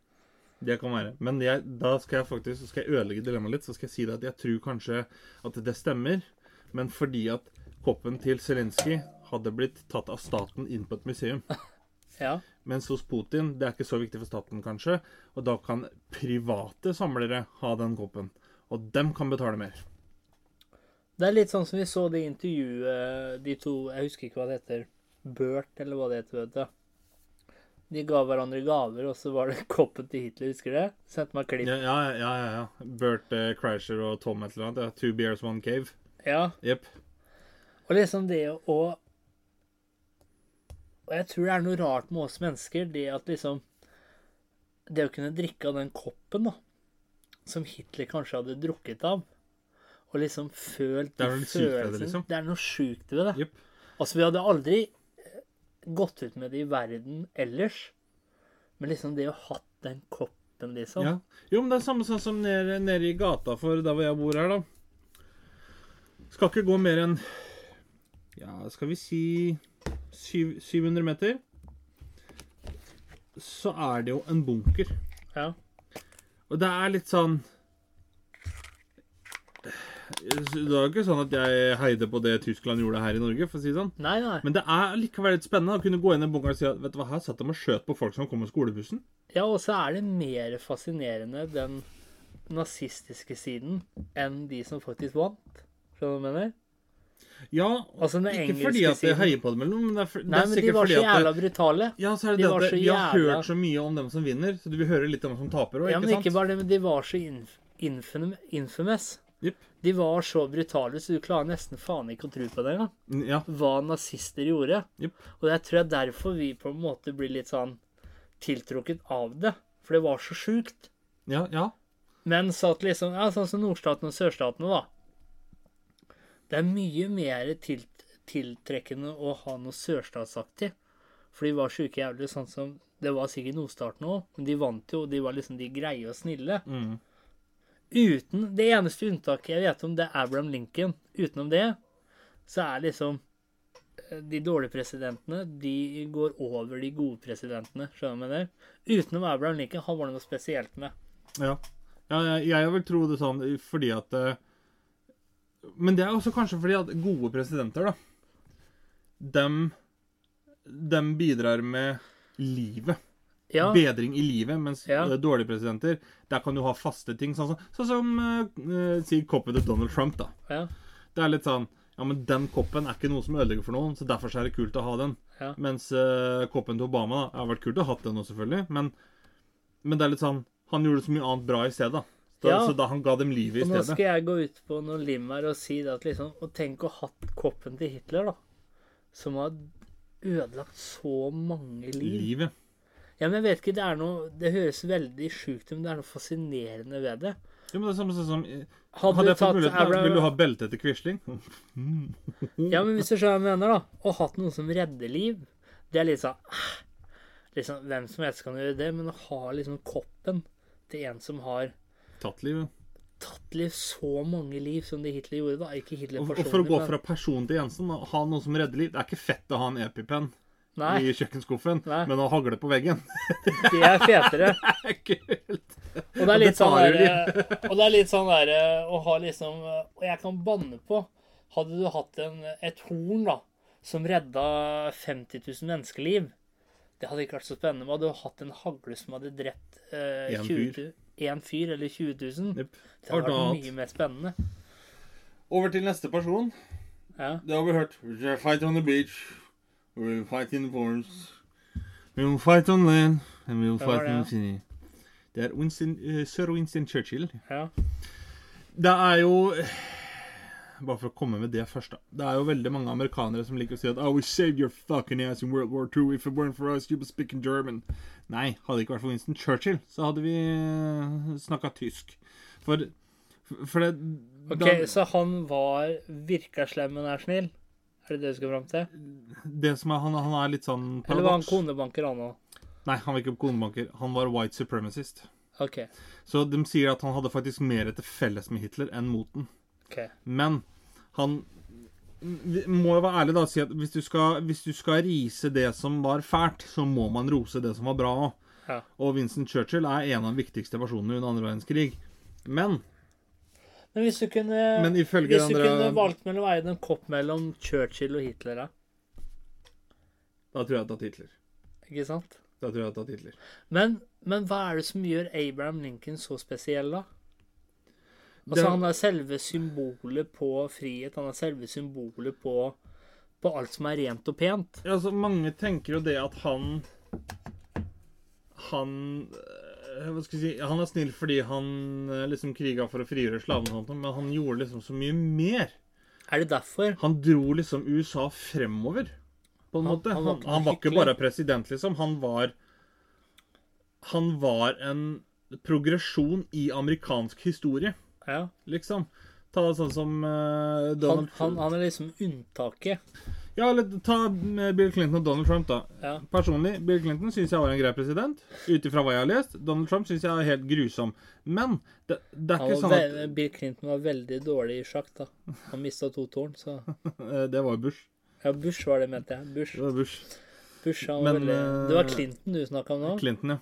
Speaker 2: Det kan være. Men jeg, da skal jeg faktisk så skal jeg ødelegge dilemmaet litt. Så skal jeg si det at jeg tror kanskje at det stemmer, men fordi at koppen til Zelinskyj hadde blitt tatt av staten inn på et museum.
Speaker 1: Ja.
Speaker 2: Mens hos Putin det er ikke så viktig for staten, kanskje. Og da kan private samlere ha den koppen. Og dem kan betale mer.
Speaker 1: Det er litt sånn som vi så det intervjuet de to Jeg husker ikke hva det heter. Burt, eller hva det heter, vet du. De ga hverandre gaver, og så var det koppen til Hitler, husker du det? Sendte meg klipp.
Speaker 2: Ja, ja, ja. ja, ja. Bert eh, Kreischer og Tom et eller annet. Ja. Two Bears, One Cave.
Speaker 1: Ja.
Speaker 2: Jepp.
Speaker 1: Og liksom det å Og jeg tror det er noe rart med oss mennesker, det at liksom Det å kunne drikke av den koppen, da, som Hitler kanskje hadde drukket av, og liksom følt
Speaker 2: Det er noe litt sykt ved det, liksom.
Speaker 1: Det er noe sjukt ved det.
Speaker 2: Jepp.
Speaker 1: Altså, vi hadde aldri eh, gått ut med det i verden ellers, men liksom det å hatt den koppen, liksom
Speaker 2: Ja. Jo, men det er samme sånn som nede, nede i gata for der hvor jeg bor her, da. Skal ikke gå mer enn Ja, skal vi si syv, 700 meter? Så er det jo en bunker.
Speaker 1: Ja.
Speaker 2: Og det er litt sånn Det var ikke sånn at jeg heide på det Tyskland gjorde her i Norge, for å si det sånn.
Speaker 1: Nei, nei.
Speaker 2: Men det er likevel litt spennende å kunne gå inn i en bunker og si at vet du hva, her satt de og skjøt på folk som kom med skolebussen.
Speaker 1: Ja, og så er det mer fascinerende den nazistiske siden enn de som faktisk vant. Skjønner du hva jeg mener?
Speaker 2: Ja,
Speaker 1: Altså, den
Speaker 2: ikke
Speaker 1: engelske
Speaker 2: fordi at jeg
Speaker 1: siden-
Speaker 2: heier på dem, eller noe, men det er, for,
Speaker 1: Nei,
Speaker 2: det er
Speaker 1: men de
Speaker 2: sikkert
Speaker 1: var
Speaker 2: fordi
Speaker 1: så
Speaker 2: at det,
Speaker 1: jævla brutale.
Speaker 2: Ja, så er
Speaker 1: De
Speaker 2: det det
Speaker 1: var
Speaker 2: at
Speaker 1: så
Speaker 2: det, vi har
Speaker 1: jævla-
Speaker 2: hørt så mye om dem som vinner, så du vil høre litt om dem som taper òg,
Speaker 1: Ja, men
Speaker 2: ikke
Speaker 1: ikke
Speaker 2: sant?
Speaker 1: bare det, men de var så inf infam- infamous.
Speaker 2: Jipp.
Speaker 1: De var så brutale, så du klarer nesten faen ikke å tro på det engang.
Speaker 2: Ja.
Speaker 1: Hva nazister gjorde.
Speaker 2: Jipp.
Speaker 1: Og jeg tror det er derfor vi på en måte blir litt sånn tiltrukket av det. For det var så sjukt.
Speaker 2: Ja, ja.
Speaker 1: Men så at liksom, ja, sånn som nordstatene og sørstatene, da. Det er mye mer tilt, tiltrekkende å ha noe sørstatsaktig. For de var sjuke jævlig, sånn som Det var sikkert nordstaten òg, men de vant jo, og de var liksom de greie og snille.
Speaker 2: Mm.
Speaker 1: Uten Det eneste unntaket jeg vet om, det er Abraham Lincoln. Utenom det, så er liksom eh, de dårlige presidentene de går over de gode presidentene. Skjønner du hva jeg mener? Utenom Abraham Lincoln, han var det noe spesielt med.
Speaker 2: Ja. ja jeg, jeg vil tro det sånn fordi at eh, Men det er også kanskje fordi at gode presidenter, da, dem, dem bidrar med livet.
Speaker 1: Ja.
Speaker 2: bedring i livet, mens
Speaker 1: Ja.
Speaker 2: eh, dårlige presidenter, der kan du ha faste ting. Sånn, som- sånn som eh, eh, si koppen til Donald Trump, da.
Speaker 1: Ja.
Speaker 2: Det er litt sånn Ja, men den koppen er ikke noe som ødelegger for noen, så derfor så er det kult å ha den.
Speaker 1: Ja.
Speaker 2: Mens eh, koppen til Obama da, har vært kult å ha hatt den også, selvfølgelig. Men, men det er litt sånn Han gjorde så mye annet bra i stedet. da. Da,
Speaker 1: Ja.
Speaker 2: Så da han ga dem livet i
Speaker 1: Og nå
Speaker 2: stedet.
Speaker 1: skal jeg gå ut på noen lim her og si det at liksom Og tenk å ha hatt koppen til Hitler, da. Som har ødelagt så mange liv.
Speaker 2: Livet.
Speaker 1: Ja, men jeg vet ikke, det er noe Det høres veldig sjukt ut, men det er noe fascinerende ved det.
Speaker 2: Jo, men det er samme sånn som eh,
Speaker 1: Hadde
Speaker 2: Hadde
Speaker 1: du
Speaker 2: jeg fått
Speaker 1: tatt
Speaker 2: muligheten, da,
Speaker 1: Abraham-
Speaker 2: ville du ha belte etter Quisling?
Speaker 1: Ja, men hvis du skjønner hva jeg mener, da. Å hatt noen som redder liv, det er litt sånn ah, liksom, Hvem som helst kan gjøre det, men å ha liksom koppen til en som har
Speaker 2: Tatt livet.
Speaker 1: tatt liv så mange liv som det Hitler gjorde, da. Ikke Hitler
Speaker 2: Og, og
Speaker 1: personlig,
Speaker 2: for å gå
Speaker 1: men-
Speaker 2: fra person til Jensen, da, ha noen som redder liv Det er ikke fett å ha en EpiPen
Speaker 1: Nei,
Speaker 2: i kjøkkenskuffen,
Speaker 1: Nei.
Speaker 2: men å hagle på veggen
Speaker 1: det er fetere.
Speaker 2: Det er kult.
Speaker 1: Og det er litt
Speaker 2: Det
Speaker 1: sånn
Speaker 2: tar jo
Speaker 1: derre Og det er litt sånn derre å ha liksom Og jeg kan banne på Hadde du hatt en, et horn, da, som redda 50 000 menneskeliv Det hadde ikke vært så spennende. Men hadde du hatt en hagle som hadde drept eh,
Speaker 2: En
Speaker 1: 20
Speaker 2: fyr.
Speaker 1: 000 en fyr eller 20 000
Speaker 2: Jep.
Speaker 1: Det hadde vært
Speaker 2: Ordentlig.
Speaker 1: mye mer spennende.
Speaker 2: Over til neste person.
Speaker 1: Ja.
Speaker 2: Det har vi hørt. We'll fight on the beach. We'll fight in the forest. We'll fight on land. And we'll
Speaker 1: Hvem var
Speaker 2: fight
Speaker 1: det,
Speaker 2: in
Speaker 1: da?
Speaker 2: the sea. Det er Winston, eh, sir Winston Churchill.
Speaker 1: ja.
Speaker 2: Det er jo Bare for å komme med det først, da. Det er jo veldig mange amerikanere som liker å si at Oh, we saved your fucking ass in World War II. If it weren't for us, you'd be speaking German. Nei, hadde det ikke vært for Winston Churchill, så hadde vi snakka tysk. For, for det
Speaker 1: OK,
Speaker 2: da-
Speaker 1: så han var virka slem, men er snill? Er det det du skal fram til?
Speaker 2: det som er, han, han er litt sånn
Speaker 1: Eller var han
Speaker 2: paradoks.
Speaker 1: konebanker, han òg?
Speaker 2: Nei, han var ikke konebanker. Han var white supremacist.
Speaker 1: OK.
Speaker 2: Så de sier at han hadde faktisk mer til felles med Hitler enn mot den.
Speaker 1: ok.
Speaker 2: Men han vi må jo være ærlig da og si at hvis du, skal, hvis du skal rise det som var fælt, så må man rose det som var bra òg.
Speaker 1: Ja.
Speaker 2: Og Winston Churchill er en av de viktigste personene under andre verdenskrig. Men
Speaker 1: Men hvis du kunne,
Speaker 2: Men ifølge
Speaker 1: hvis du
Speaker 2: andre-
Speaker 1: kunne valgt mellom å eie en kopp mellom Churchill og Hitler, da,
Speaker 2: da tror jeg jeg har tatt Hitler.
Speaker 1: ikke sant?
Speaker 2: Da tror jeg jeg har tatt Hitler.
Speaker 1: Men, men hva er det som gjør Abraham Lincoln så spesiell, da? Altså,
Speaker 2: Det-
Speaker 1: Han er selve symbolet på frihet. Han er selve symbolet på, på alt som er rent og pent.
Speaker 2: Ja, altså, mange tenker jo det at han Han eh, Hva skal jeg si Han er snill fordi han eh, liksom kriga for å frigjøre slavene, og sånt, men han gjorde liksom så mye mer.
Speaker 1: Er det derfor?
Speaker 2: Han dro liksom USA fremover, på en
Speaker 1: Han-
Speaker 2: måte.
Speaker 1: han var
Speaker 2: Han, han,
Speaker 1: ikke
Speaker 2: var, ikke
Speaker 1: hyggelig.
Speaker 2: bare president, liksom. Han var Han var en progresjon i amerikansk historie,
Speaker 1: Ja.
Speaker 2: liksom. Ta sånn som eh,
Speaker 1: Han,
Speaker 2: Donald
Speaker 1: han, han er liksom unntaket.
Speaker 2: Ja, eller ta eh, Bill Clinton og Donald Trump, da.
Speaker 1: Ja.
Speaker 2: Personlig, Bill Clinton syns jeg var en grei president. Ut ifra hva jeg har lest. Donald Trump syns jeg er helt grusom. Men det, det er
Speaker 1: Han
Speaker 2: ikke
Speaker 1: var
Speaker 2: sånn at
Speaker 1: ve- Bill Clinton var veldig dårlig i sjakk, da. Han mista to tårn, så
Speaker 2: Eh, Det var jo Bush.
Speaker 1: Ja, Bush var det, mente jeg. Bush.
Speaker 2: Det var Bush.
Speaker 1: Bush han var
Speaker 2: Men,
Speaker 1: veldig... Det var
Speaker 2: eh,
Speaker 1: Clinton du snakka om nå?
Speaker 2: Clinton, ja.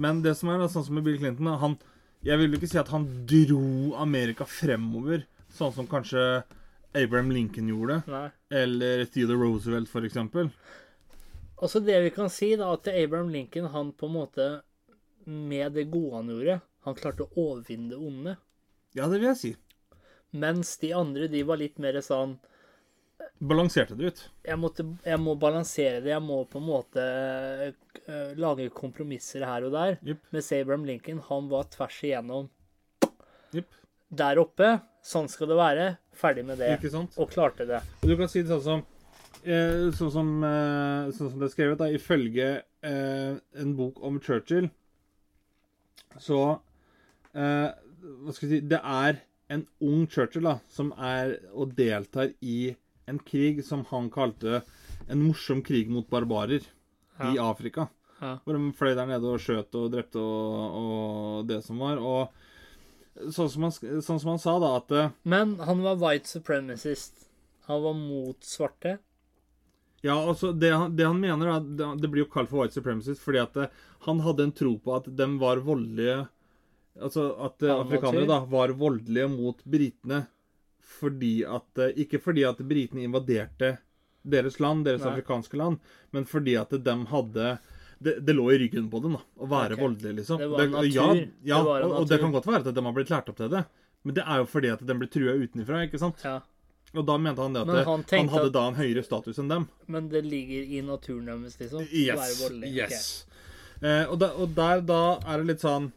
Speaker 2: Men det som er da, sånn som med Bill Clinton da, han, Jeg vil ikke si at han dro Amerika fremover, sånn som kanskje Abraham Lincoln gjorde.
Speaker 1: Nei.
Speaker 2: Eller Theodore Roosevelt, for eksempel.
Speaker 1: Altså det vi kan si da, at Abraham Lincoln, han på en måte, med det gode han gjorde, han klarte å overvinne det onde.
Speaker 2: Ja, det vil jeg si.
Speaker 1: Mens de andre, de var litt mer sånn,
Speaker 2: Balanserte det ut.
Speaker 1: jeg, måtte, jeg må balansere det, jeg må på en måte eh, lage kompromisser her og der.
Speaker 2: Jipp.
Speaker 1: Mens Abraham Lincoln, han var tvers igjennom
Speaker 2: Jipp.
Speaker 1: der oppe, sånn skal det være, ferdig med det.
Speaker 2: Ikke sant?
Speaker 1: Og klarte det.
Speaker 2: Og Du kan si det sånn som eh, Sånn som, eh, sånn som det er skrevet, da, ifølge eh, en bok om Churchill, så eh, Hva skal jeg si Det er en ung Churchill da, som er og deltar i en krig som han kalte en morsom krig mot barbarer i Afrika.
Speaker 1: Ja.
Speaker 2: Hvor de fløy der nede og skjøt og drepte og, og det som var. Og sånn som han, sk- sånn som han sa, da, at eh,
Speaker 1: Men han var white supremacist. Han var mot svarte.
Speaker 2: Ja, altså det han, det han mener er at det- Det blir jo kalt for white supremacist fordi at eh, han hadde en tro på at de var voldelige Altså at eh,
Speaker 1: Han var
Speaker 2: afrikanere
Speaker 1: til.
Speaker 2: da var voldelige mot britene fordi at eh, Ikke fordi at britene invaderte deres land, deres
Speaker 1: Nei.
Speaker 2: afrikanske land, men fordi at de hadde det, det lå i ryggen på dem da, å være
Speaker 1: Ok.
Speaker 2: voldelig, liksom.
Speaker 1: Det var en
Speaker 2: og ja,
Speaker 1: natur.
Speaker 2: ja,
Speaker 1: Det var en
Speaker 2: og, og det
Speaker 1: natur.
Speaker 2: kan godt være at de har blitt lært opp til det. Men det er jo fordi at de blir trua utenfra, ikke sant?
Speaker 1: Ja.
Speaker 2: Og da mente han det at
Speaker 1: Men
Speaker 2: det-
Speaker 1: han
Speaker 2: han,
Speaker 1: tenkte
Speaker 2: hadde
Speaker 1: at-
Speaker 2: da en høyere status enn dem.
Speaker 1: Men det ligger i naturen deres, liksom? å være
Speaker 2: Yes.
Speaker 1: voldelig. Ok.
Speaker 2: yes. Eh, og, da- og der da er det litt sånn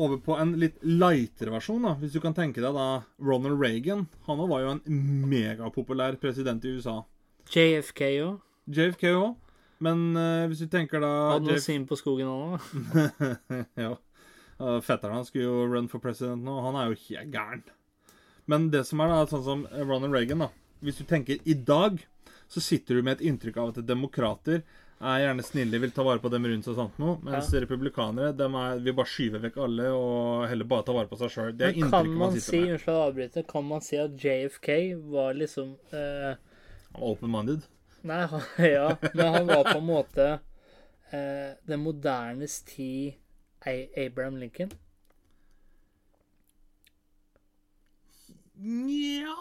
Speaker 2: over på en litt lightere versjon, da. Hvis du kan tenke deg da Ronald Reagan. Han var jo en megapopulær president i USA.
Speaker 1: JFK òg.
Speaker 2: JFK òg. Men eh, hvis du tenker da
Speaker 1: Hadde noe
Speaker 2: JFK,
Speaker 1: sim på skogen han òg.
Speaker 2: ja. Eh, Fetteren hans skulle jo run for president nå. Han er jo helt gæren. Men det som er da, sånn som Ronald Reagan, da. Hvis du tenker i dag, så sitter du med et inntrykk av at demokrater er gjerne snille, vil ta vare på dem rundt seg og sånt noe. Mens republikanere dem er, vil bare skyve vekk alle og heller bare ta vare på seg sjøl. Det er
Speaker 1: Men kan
Speaker 2: inntrykket man
Speaker 1: man
Speaker 2: sitter
Speaker 1: si,
Speaker 2: med.
Speaker 1: unnskyld at jeg avbryter, kan man si at JFK var liksom eh,
Speaker 2: Open-minded.
Speaker 1: Nei, han, ja, men han var på en måte eh, den modernes tid A- Abraham Lincoln?
Speaker 2: Nja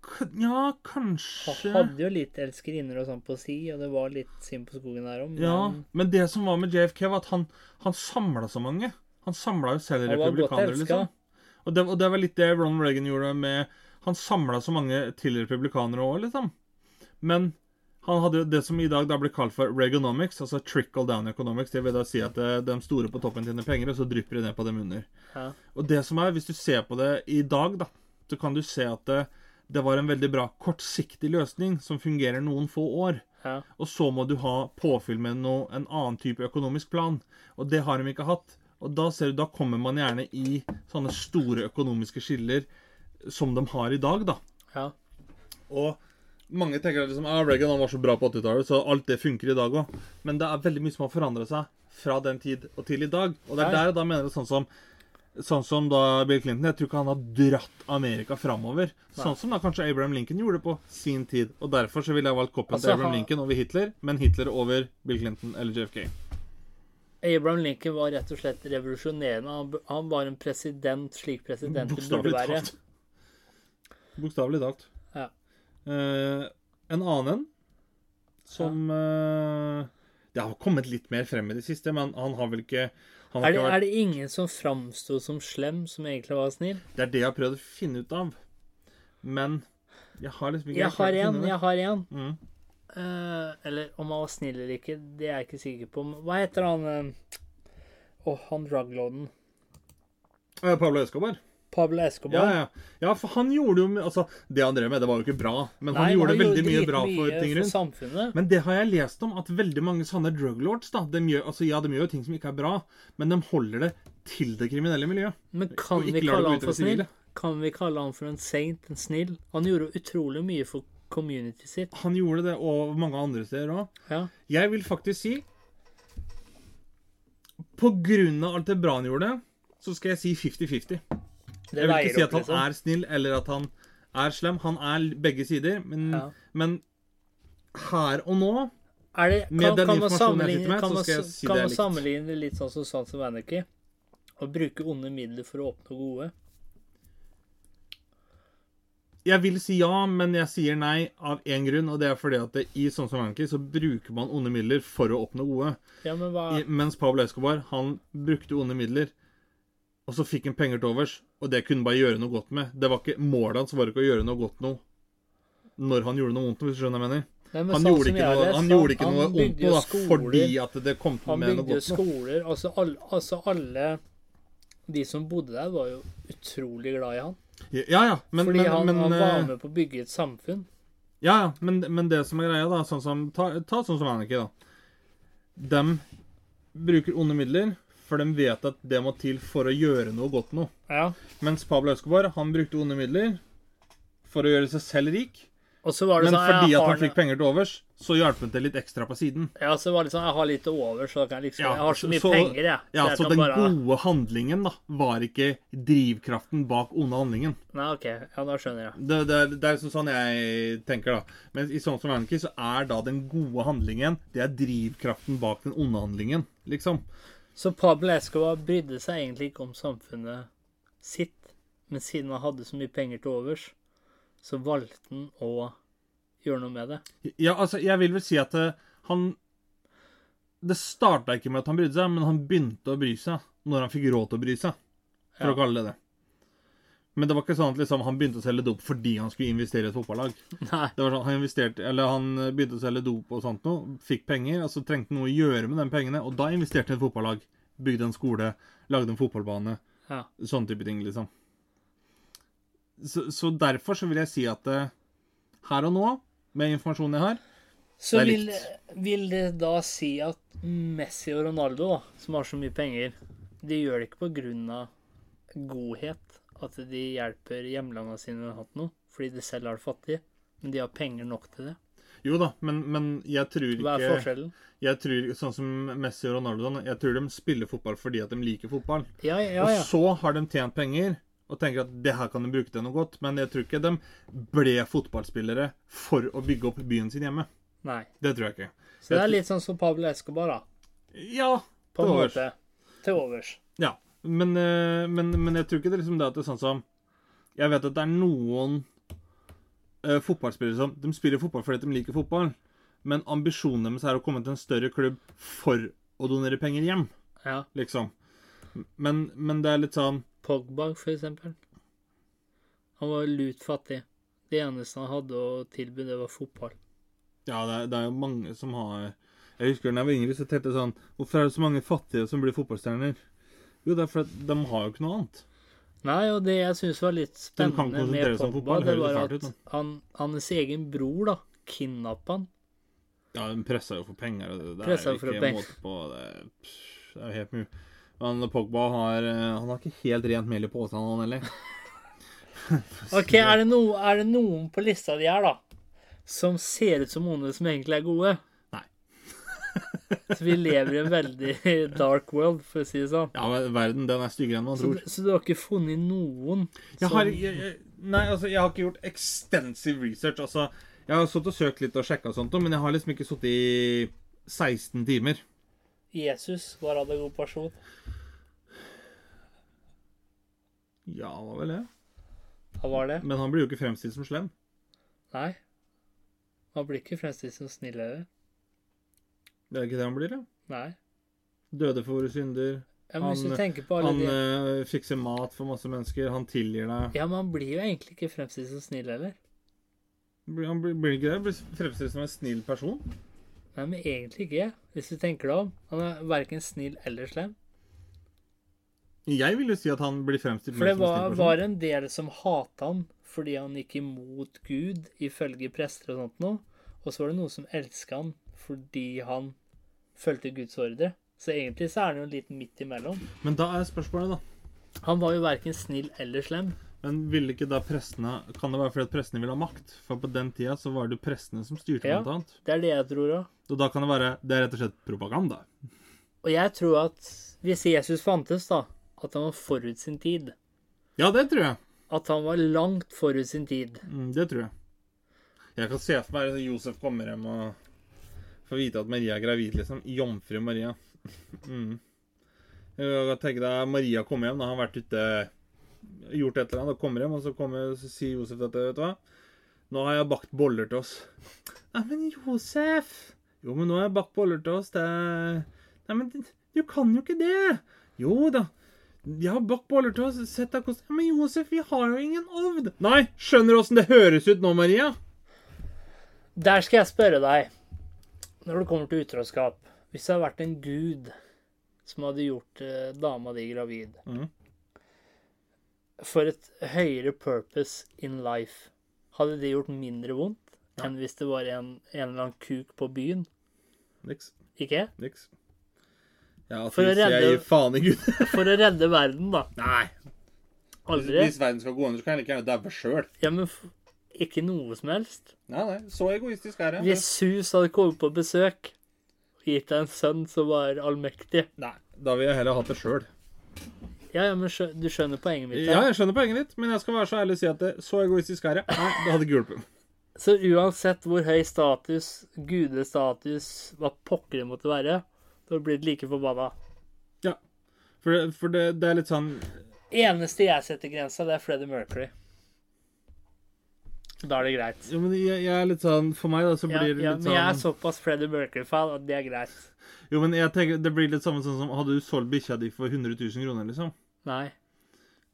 Speaker 2: k- Nja,
Speaker 1: Han
Speaker 2: kanskje
Speaker 1: hadde jo litt elskerinner og sånn på si, og det var litt sim på skogen der òg, men
Speaker 2: Ja, men det som var med JFK, var at han, han samla så mange. Han samla jo selv
Speaker 1: Han var godt
Speaker 2: republikanere,
Speaker 1: elsket.
Speaker 2: liksom. Og det, og det var litt det Ronald Reagan gjorde med Han samla så mange til republikanere òg, liksom. Men han hadde jo det som i dag da blir kalt for Reaganomics, altså trickle down economics. Det vil da si at eh, de store på toppen tjener penger, og så drypper de ned på dem under.
Speaker 1: Ja.
Speaker 2: Og det som er, hvis du ser på det i dag, da, så kan du se at det, det var en veldig bra kortsiktig løsning som fungerer noen få år.
Speaker 1: ja.
Speaker 2: Og så må du ha påfyll med noe, en annen type økonomisk plan. Og det har de ikke hatt. Og da ser du, da kommer man gjerne i sånne store økonomiske skiller som de har i dag, da.
Speaker 1: ja.
Speaker 2: Og mange tenker liksom at Reagan han var så bra på 80-tallet, så alt det funker i dag òg. Men det er veldig mye som har forandra seg fra den tid og til i dag. Og det
Speaker 1: Ja,
Speaker 2: er
Speaker 1: ja.
Speaker 2: der jeg da mener det sånn som Sånn som da Bill Clinton. Jeg tror ikke han har dratt Amerika framover. Sånn som da kanskje Abraham Lincoln gjorde på sin tid. Og derfor så ville jeg valgt koppen
Speaker 1: Altså,
Speaker 2: til Abraham
Speaker 1: han-
Speaker 2: Lincoln over Hitler, men Hitler over Bill Clinton eller JFK.
Speaker 1: Abraham Lincoln var rett og slett revolusjonerende. Han, b- han var en president slik presidenter burde
Speaker 2: Bokstavelig
Speaker 1: være.
Speaker 2: talt. Bokstavelig talt.
Speaker 1: Ja.
Speaker 2: Eh, en annen en som eh, Det har kommet litt mer frem i det siste, men han har vel ikke han har
Speaker 1: Er det,
Speaker 2: ikke vært,
Speaker 1: er det ingen som framsto som slem, som egentlig var snill?
Speaker 2: det... er det jeg har prøvd å finne ut av. Men jeg har liksom ikke
Speaker 1: Jeg har en, jeg har en.
Speaker 2: Mm.
Speaker 1: Eh, eller om han var snill eller ikke, det er jeg ikke sikker på. Men Hva heter han eh, Åh, han druglorden.
Speaker 2: Eh, Pablo Escobar.
Speaker 1: Pablo
Speaker 2: Ja,
Speaker 1: Escobar.
Speaker 2: ja. ja, for han gjorde jo altså, Det han drev med, det var jo ikke bra, men
Speaker 1: Nei,
Speaker 2: han gjorde veldig mye
Speaker 1: dritmye
Speaker 2: bra for ting rundt.
Speaker 1: samfunnet.
Speaker 2: Men det har jeg lest om, at veldig mange sånne druglords da, de gjør, altså, ja, de gjør jo ting som ikke er bra, men de holder det til det kriminelle miljøet.
Speaker 1: Men kan
Speaker 2: og
Speaker 1: vi
Speaker 2: ikke lar det
Speaker 1: kalle
Speaker 2: gå
Speaker 1: han
Speaker 2: utover
Speaker 1: for snill?
Speaker 2: sivile.
Speaker 1: Kan vi kalle han for en saint, en snill? Han gjorde utrolig mye for community sitt.
Speaker 2: Han gjorde det, og mange andre steder òg.
Speaker 1: Ja.
Speaker 2: Jeg vil faktisk si På grunn av alt det bra han gjorde, så skal jeg si 50-50.
Speaker 1: Det
Speaker 2: Jeg vil ikke
Speaker 1: veier
Speaker 2: si
Speaker 1: opp,
Speaker 2: at han
Speaker 1: liksom.
Speaker 2: er snill, eller at han er slem. Han er begge sider, men,
Speaker 1: Ja.
Speaker 2: men her og nå
Speaker 1: Er det,
Speaker 2: Med
Speaker 1: kan, kan
Speaker 2: den
Speaker 1: man
Speaker 2: informasjonen jeg
Speaker 1: sammenligne,
Speaker 2: sitter med,
Speaker 1: kan
Speaker 2: så
Speaker 1: man,
Speaker 2: skal jeg
Speaker 1: s-
Speaker 2: si
Speaker 1: kan
Speaker 2: det er
Speaker 1: man
Speaker 2: likt.
Speaker 1: sammenligne det litt sånn som Sans og Wernicke? Å bruke onde midler for å oppnå gode?
Speaker 2: Jeg vil si ja, men jeg sier nei av én grunn, og det er fordi at det, i sånn som Anki så bruker man onde midler for å oppnå gode.
Speaker 1: Ja, men hva
Speaker 2: I, mens Pablo Escobar, han brukte onde midler, og så fikk han penger til overs, og det kunne han bare gjøre noe godt med. Det var ikke Målet hans var ikke å gjøre noe godt noe når han gjorde noe vondt, hvis du skjønner hva jeg mener.
Speaker 1: Nei, men
Speaker 2: Han,
Speaker 1: sånn
Speaker 2: gjorde,
Speaker 1: som
Speaker 2: ikke
Speaker 1: jeg
Speaker 2: noe,
Speaker 1: leste,
Speaker 2: han gjorde ikke
Speaker 1: han
Speaker 2: noe
Speaker 1: bygde
Speaker 2: vondt noe da,
Speaker 1: skoler,
Speaker 2: fordi at det kom til
Speaker 1: Han
Speaker 2: med noe
Speaker 1: bygde
Speaker 2: godt noe.
Speaker 1: skoler. Altså, alle, altså alle de som bodde der, var jo utrolig glad i han.
Speaker 2: Ja, ja, men,
Speaker 1: fordi
Speaker 2: men,
Speaker 1: han,
Speaker 2: men,
Speaker 1: han var
Speaker 2: eh,
Speaker 1: med på å bygge et samfunn.
Speaker 2: Ja, ja, men, men det som er greia, da sånn som, ta, ta sånn som Anarchy, da. De bruker onde midler, for de vet at det må til for å gjøre noe godt noe.
Speaker 1: Ja.
Speaker 2: Mens Pablo Escobar han brukte onde midler for å gjøre seg selv rik.
Speaker 1: Og så var det
Speaker 2: Men
Speaker 1: sånn
Speaker 2: fordi
Speaker 1: jeg
Speaker 2: at
Speaker 1: har
Speaker 2: han fikk
Speaker 1: noe-
Speaker 2: penger til overs, så hjalp han til litt ekstra på siden.
Speaker 1: Ja, så var det sånn Jeg har litt til over, så da kan jeg liksom
Speaker 2: Ja,
Speaker 1: Jeg har så mye
Speaker 2: så-
Speaker 1: penger, jeg. så
Speaker 2: Ja,
Speaker 1: jeg
Speaker 2: Så
Speaker 1: kan
Speaker 2: den
Speaker 1: bare
Speaker 2: gode handlingen da, var ikke drivkraften bak onde handlingen.
Speaker 1: Nei, OK. Ja, da skjønner jeg.
Speaker 2: Det, det, er- det er liksom sånn jeg tenker, da. Men i sånn som Anarchy så er da den gode handlingen Det er drivkraften bak den onde handlingen, liksom.
Speaker 1: Så Pablo Escobar brydde seg egentlig ikke om samfunnet sitt, men siden han hadde så mye penger til overs, så valgte han å gjøre noe med det.
Speaker 2: Ja, altså, jeg vil vel si at eh, han det starta ikke med at han brydde seg, men han begynte å bry seg når han fikk råd til å bry seg, for
Speaker 1: Ja.
Speaker 2: å kalle det det. Men det var ikke sånn at liksom, han begynte å selge dop fordi han skulle investere i et fotballag.
Speaker 1: Nei.
Speaker 2: Det var sånn, Han investerte, eller han begynte å selge dop og sånt noe, fikk penger, og så trengte han noe å gjøre med de pengene, og da investerte han i et fotballag. Bygde en skole, lagde en fotballbane.
Speaker 1: Ja.
Speaker 2: Sånne type ting, liksom. Så, så derfor så vil jeg si at eh, her og nå, med informasjonen jeg har
Speaker 1: Så
Speaker 2: Det er
Speaker 1: vil,
Speaker 2: likt.
Speaker 1: vil det da si at Messi og Ronaldo, da, som har så mye penger, de gjør det ikke på grunn av godhet, at de hjelper hjemlandene sine med hatt noe, fordi de selv er fattige, men de har penger nok til det.
Speaker 2: Jo da, men, men jeg tror
Speaker 1: Hva er
Speaker 2: ikke
Speaker 1: forskjellen?
Speaker 2: jeg tror, Sånn som Messi og Ronaldo, da, jeg tror de spiller fotball fordi at de liker fotball.
Speaker 1: Ja, ja, ja.
Speaker 2: Og så har de tjent penger og tenker at det her kan de bruke til noe godt. Men jeg tror ikke de ble fotballspillere for å bygge opp byen sin hjemme.
Speaker 1: Nei.
Speaker 2: Det tror jeg ikke.
Speaker 1: Så det er litt sånn som Pablo Escobar, da.
Speaker 2: Ja,
Speaker 1: På
Speaker 2: til
Speaker 1: en
Speaker 2: overs.
Speaker 1: måte. Til overs.
Speaker 2: Ja, men, eh, men, men jeg tror ikke det, er liksom det at det er sånn som Jeg vet at det er noen eh, fotballspillere som De spiller fotball fordi de liker fotball, men ambisjonen deres er å komme til en større klubb for å donere penger hjem,
Speaker 1: Ja.
Speaker 2: liksom. Men, men det er litt sånn
Speaker 1: Pogba, for eksempel. Han var lut fattig. Det eneste han hadde å tilby, det var fotball.
Speaker 2: Ja, det er, det er jo mange som har Jeg husker da jeg var yngre, så tenkte jeg sånn Hvorfor er det så mange fattige som blir fotballstjerner? Jo, det er fordi de har jo ikke noe annet.
Speaker 1: Nei, og det jeg syns var litt
Speaker 2: kan
Speaker 1: spennende med
Speaker 2: konsentrere seg om
Speaker 1: Pogba,
Speaker 2: fotball,
Speaker 1: det
Speaker 2: høres
Speaker 1: var
Speaker 2: fælt ut,
Speaker 1: at
Speaker 2: da.
Speaker 1: han, hans egen bror da, kidnappa han.
Speaker 2: Ja, de pressa jo for penger. og Det, det
Speaker 1: Pressa
Speaker 2: er jo
Speaker 1: for
Speaker 2: ikke
Speaker 1: penger.
Speaker 2: måte på. Det, er- pff, det er jo helt mye. Men Pogba har eh, Han har ikke helt rent mel i posen, han heller.
Speaker 1: Ok, er det, no, er det noen på lista di her, da, som ser ut som onde, som egentlig er gode?
Speaker 2: Nei.
Speaker 1: Så vi lever i en veldig dark world, for å si det sånn.
Speaker 2: Ja, men verden den er styggere enn man
Speaker 1: Så,
Speaker 2: tror.
Speaker 1: så du har ikke funnet noen
Speaker 2: Jeg har, jeg, jeg, nei, altså, jeg har ikke gjort extensive research. Altså, jeg har stått og søkt litt og sjekka sånt, men jeg har liksom ikke sittet i 16 timer.
Speaker 1: Jesus var han en god person?
Speaker 2: Ja, det var vel det.
Speaker 1: Han var det?
Speaker 2: Men han blir jo ikke fremstilt som slem.
Speaker 1: Nei. Han blir ikke fremstilt som snill heller.
Speaker 2: Det er ikke det han blir, ja.
Speaker 1: Nei.
Speaker 2: Døde for våre synder.
Speaker 1: Ja, men hvis
Speaker 2: Han-
Speaker 1: du tenker på alle
Speaker 2: Han
Speaker 1: de
Speaker 2: eh, fikser mat for masse mennesker. Han tilgir deg.
Speaker 1: Ja, men han blir jo egentlig ikke fremstilt som snill heller.
Speaker 2: Blir- Han blir, blir ikke det? Blir fremstilt som en snill person?
Speaker 1: Nei, men egentlig ikke. Hvis du tenker deg om. Han er verken snill eller slem.
Speaker 2: Jeg vil jo si at han blir fremstilt
Speaker 1: For det
Speaker 2: mer som en
Speaker 1: var,
Speaker 2: snill person.
Speaker 1: var en del som hata han fordi han gikk imot Gud, ifølge prester og sånt noe. Og så var det noen som elska han fordi han fulgte Guds ordre. Så egentlig så er han jo litt midt imellom.
Speaker 2: Men da er spørsmålet, da.
Speaker 1: Han var jo verken snill eller slem.
Speaker 2: Men ville ikke da prestene Kan det være fordi at prestene ville ha makt? For på den tida så var det jo prestene som styrte
Speaker 1: Ja.
Speaker 2: blant annet.
Speaker 1: Det er det jeg tror òg.
Speaker 2: Og da kan det være Det er rett og slett propaganda.
Speaker 1: Og jeg tror at hvis Jesus fantes, da, at han var forut sin tid.
Speaker 2: Ja, det tror jeg.
Speaker 1: At han var langt forut sin tid.
Speaker 2: Mm, det tror jeg. Jeg kan se for meg at Josef kommer hjem og får vite at Maria er gravid, liksom. Jomfru Maria. Mm. Jeg kan tenke deg Maria kommer hjem, da har han vært ute gjort et eller annet, og kommer hjem, og så, kommer, så sier Josef dette, vet du hva? Nå har jeg bakt boller til oss. Nei, men Josef! Jo, men nå har jeg bakt boller til oss, det er- Nei, men du kan jo ikke det! Jo da. Jeg har bakt boller til oss. Sett deg kost... Ja, men Josef, vi har jo ingen ovn! Nei, skjønner du åssen det høres ut nå, Maria?
Speaker 1: Der skal jeg spørre deg, når det kommer til utroskap Hvis det hadde vært en gud som hadde gjort eh, dama di gravid
Speaker 2: Mhm.
Speaker 1: For et høyere purpose in life, hadde det gjort mindre vondt enn hvis det var en, en eller annen kuk på byen?
Speaker 2: Niks.
Speaker 1: Ikke?
Speaker 2: Niks. Ja,
Speaker 1: For å
Speaker 2: ateist, jeg
Speaker 1: redde-
Speaker 2: gir faen i Gud.
Speaker 1: For å redde verden, da.
Speaker 2: Nei.
Speaker 1: Aldri.
Speaker 2: verden skal gå under, så kan jeg like gjerne daue sjøl.
Speaker 1: Ja, men f- ikke noe som helst.
Speaker 2: Nei, nei. Så egoistisk er jeg.
Speaker 1: Hvis Sus hadde kommet på besøk og gitt deg en sønn som var allmektig
Speaker 2: Nei, da vil jeg heller hatt det sjøl.
Speaker 1: Ja, ja, men skjø du skjønner poenget mitt?
Speaker 2: Ja,
Speaker 1: her.
Speaker 2: jeg skjønner poenget ditt, men jeg skal være så ærlig og si at det, så egoistisk er jeg. Nei, det hadde ikke hjulpet.
Speaker 1: Så uansett hvor høy status, gudestatus, hva pokker det måtte være, du hadde blitt like forbanna.
Speaker 2: Ja. For, det- for det, det er litt sånn
Speaker 1: Eneste jeg setter grensa, det er Freddie Mercury. Da er det greit.
Speaker 2: Jo, men jeg, jeg er litt sånn For meg, da, så
Speaker 1: Ja,
Speaker 2: blir det
Speaker 1: ja,
Speaker 2: litt
Speaker 1: men jeg er
Speaker 2: sånn
Speaker 1: såpass Freddie Mercury-fan at det er greit.
Speaker 2: Jo, men jeg tenker Det blir litt samme sånn som Hadde du solgt bikkja di for 100 000 kroner, liksom?
Speaker 1: Nei.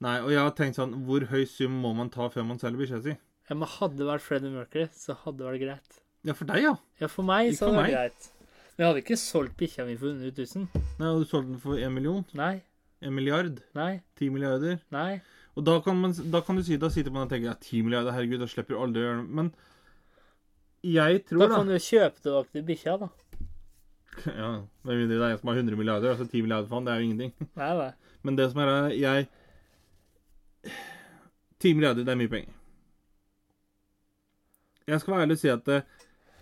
Speaker 2: Nei, og jeg har tenkt sånn Hvor høy sum må man ta før man selger bikkja si?
Speaker 1: Ja, men hadde det vært Freddie Mercury, så hadde det vært greit.
Speaker 2: Ja, for deg, ja.
Speaker 1: Ja, for meg
Speaker 2: Ikke
Speaker 1: så
Speaker 2: for
Speaker 1: hadde det vært greit. Men jeg hadde ikke solgt bikkja mi for 100 000.
Speaker 2: Nei, og du solgte den for 1 million.
Speaker 1: Nei,
Speaker 2: 1 milliard.
Speaker 1: nei,
Speaker 2: 10 milliarder.
Speaker 1: nei.
Speaker 2: Og da kan, man, da kan du si Da sitter man og tenker ja, 10 milliarder, herregud, da slipper du aldri å gjøre noe. Men jeg tror,
Speaker 1: Da
Speaker 2: da,
Speaker 1: kan du kjøpe tilbake til bikkja, da.
Speaker 2: Ja, Med mindre det er en som har 100 milliarder. Altså 10 milliarder for han, det er jo ingenting.
Speaker 1: Nei, nei.
Speaker 2: Men det som er, er jeg 10 milliarder, det er mye penger. Jeg skal være ærlig og si at eh,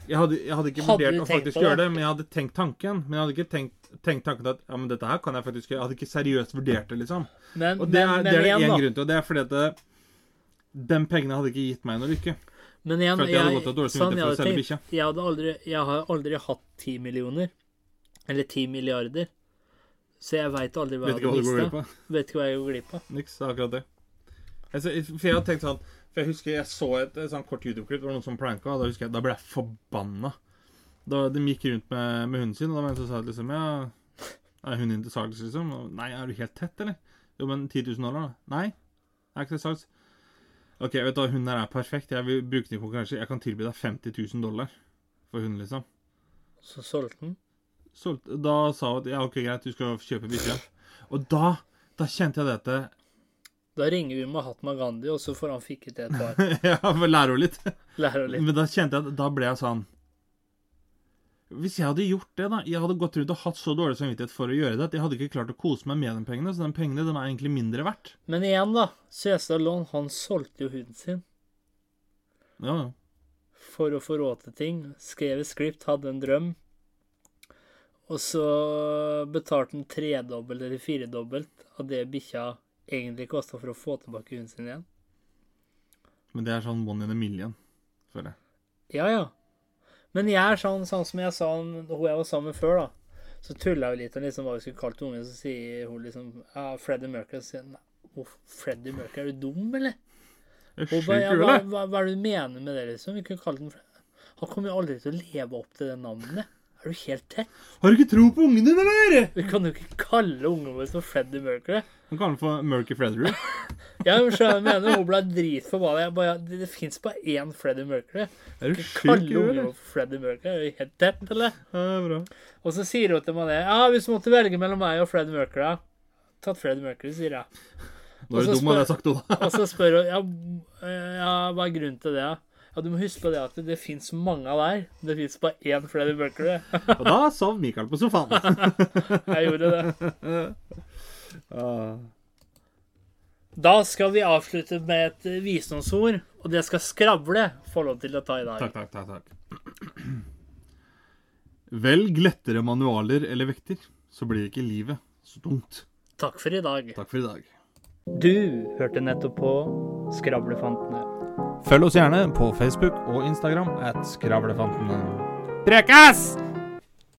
Speaker 2: jeg hadde, jeg hadde ikke
Speaker 1: Hadde
Speaker 2: vurdert
Speaker 1: du
Speaker 2: å
Speaker 1: tenkt
Speaker 2: faktisk
Speaker 1: på det?
Speaker 2: gjøre det, men jeg hadde tenkt tanken. Men jeg hadde ikke tenkt, tenkt tanken at ja, men dette her kan jeg faktisk gjøre. Jeg hadde ikke seriøst vurdert det, liksom.
Speaker 1: Men,
Speaker 2: Og det er
Speaker 1: men,
Speaker 2: det
Speaker 1: men
Speaker 2: er det
Speaker 1: igjen,
Speaker 2: én
Speaker 1: da.
Speaker 2: grunn til, og det er fordi at eh, de pengene hadde ikke gitt meg noe lykke.
Speaker 1: Men igjen,
Speaker 2: For at jeg hadde gått av dårlig
Speaker 1: sånn jeg
Speaker 2: samvittighet for å
Speaker 1: hadde
Speaker 2: selge
Speaker 1: tenkt, jeg, hadde aldri, jeg har aldri hatt 10 millioner. Eller 10 milliarder. Så jeg veit aldri hva
Speaker 2: Vet
Speaker 1: jeg
Speaker 2: ikke hva
Speaker 1: hadde
Speaker 2: du går glipp
Speaker 1: mista.
Speaker 2: av.
Speaker 1: Vet ikke hva jeg går glipp av.
Speaker 2: Niks, det er akkurat det. Jeg, så- for jeg har tenkt sånn For jeg husker jeg så et, et sånn kort YouTube-klipp, det var noen som pranka, og da husker jeg, da ble jeg forbanna. Da de gikk rundt med, med hunden sin, og da var det en som sa at liksom Ja, er hunden din til salgs, liksom? Og, Nei, er du helt tett, eller? Jo, men 10 000 dollar, da? Nei, jeg er ikke til salgs. OK, vet du hva, hunden her er perfekt. Jeg vil bruke den i konkurranse. Jeg kan tilby deg 50 000 dollar for hunden, liksom.
Speaker 1: Så solgte den.
Speaker 2: solgte, da sa hun at ja, ok, greit, du skal kjøpe bikkje. Og da, da kjente jeg dette.
Speaker 1: Da ringer vi Mahatma Gandhi, og så får han fikket det et par.
Speaker 2: Jeg får lære henne litt.
Speaker 1: Lærer litt.
Speaker 2: Men da kjente jeg at da ble jeg sånn Hvis jeg hadde gjort det, da Jeg hadde gått rundt og hatt så dårlig samvittighet for å gjøre det at jeg hadde ikke klart å kose meg med de pengene, så de pengene de er egentlig mindre verdt.
Speaker 1: Men igjen, da. Søstad Lån, han solgte jo huden sin
Speaker 2: Ja, ja.
Speaker 1: for å få råd til ting. Skrev et skript, hadde en drøm. Og så betalte han tredobbelt eller firedobbelt av det bikkja egentlig kosta for å få tilbake huden sin igjen.
Speaker 2: Men det er sånn one in a million, føler jeg.
Speaker 1: Ja, ja. Men jeg er sånn, sånn som jeg sa om hun jeg var sammen med før, da. Så tulla vi litt om liksom hva vi skulle kalt ungen, så sier hun liksom ja, Freddie Mercury. Så sier jeg, nei, «Å, Freddie Mercury, er du dum, eller?
Speaker 2: Det er
Speaker 1: Og
Speaker 2: sjukt
Speaker 1: bare, ja,
Speaker 2: kul,
Speaker 1: hva,
Speaker 2: da.
Speaker 1: hva, hva er det du mener med det, liksom? Vi kunne kalt den for... Han kommer jo aldri til å leve opp til det navnet. Er du helt tett?
Speaker 2: Har du ikke tro på ungen din, eller?
Speaker 1: Vi kan jo ikke kalle ungen vår for Freddie Mercury.
Speaker 2: Han kaller den for Murky Frederick.
Speaker 1: Ja, men så jeg mener hun ble dritforbanna. Jeg bare, det, det fins bare én Freddie Mercury.
Speaker 2: Er du
Speaker 1: Kalle
Speaker 2: sjuk, du,
Speaker 1: ungen
Speaker 2: eller?
Speaker 1: vår for Freddie Mercury? Er du helt tett, eller?
Speaker 2: Ja, det er bra.
Speaker 1: Og så sier hun til meg det. Ja, hvis du måtte velge mellom meg og Freddie Mercury da. Tatt Freddie Mercury, sier jeg.
Speaker 2: Nå er
Speaker 1: Og
Speaker 2: du
Speaker 1: så
Speaker 2: dum, hadde
Speaker 1: spør-
Speaker 2: jeg sagt det, da.
Speaker 1: Og så spør hun ja, eh, ja, hva er grunnen til det? da?» Ja, Du må huske på det at det fins mange av der. Det fins bare én Freddie Mercury.
Speaker 2: Og da sov Mikael på sofaen.
Speaker 1: Jeg gjorde det.
Speaker 2: Ah.
Speaker 1: Da skal vi avslutte med et eh, visdomsord. Og det skal skravle få lov til å ta i dag.
Speaker 2: Takk, takk, takk, takk. Velg lettere manualer eller vekter, så blir ikke livet så tungt.
Speaker 1: Takk for i dag.
Speaker 2: Takk for i dag.
Speaker 1: Du hørte nettopp på Skravlefantene.
Speaker 2: Følg oss gjerne på Facebook og Instagram at Skravlefantene. Prekas!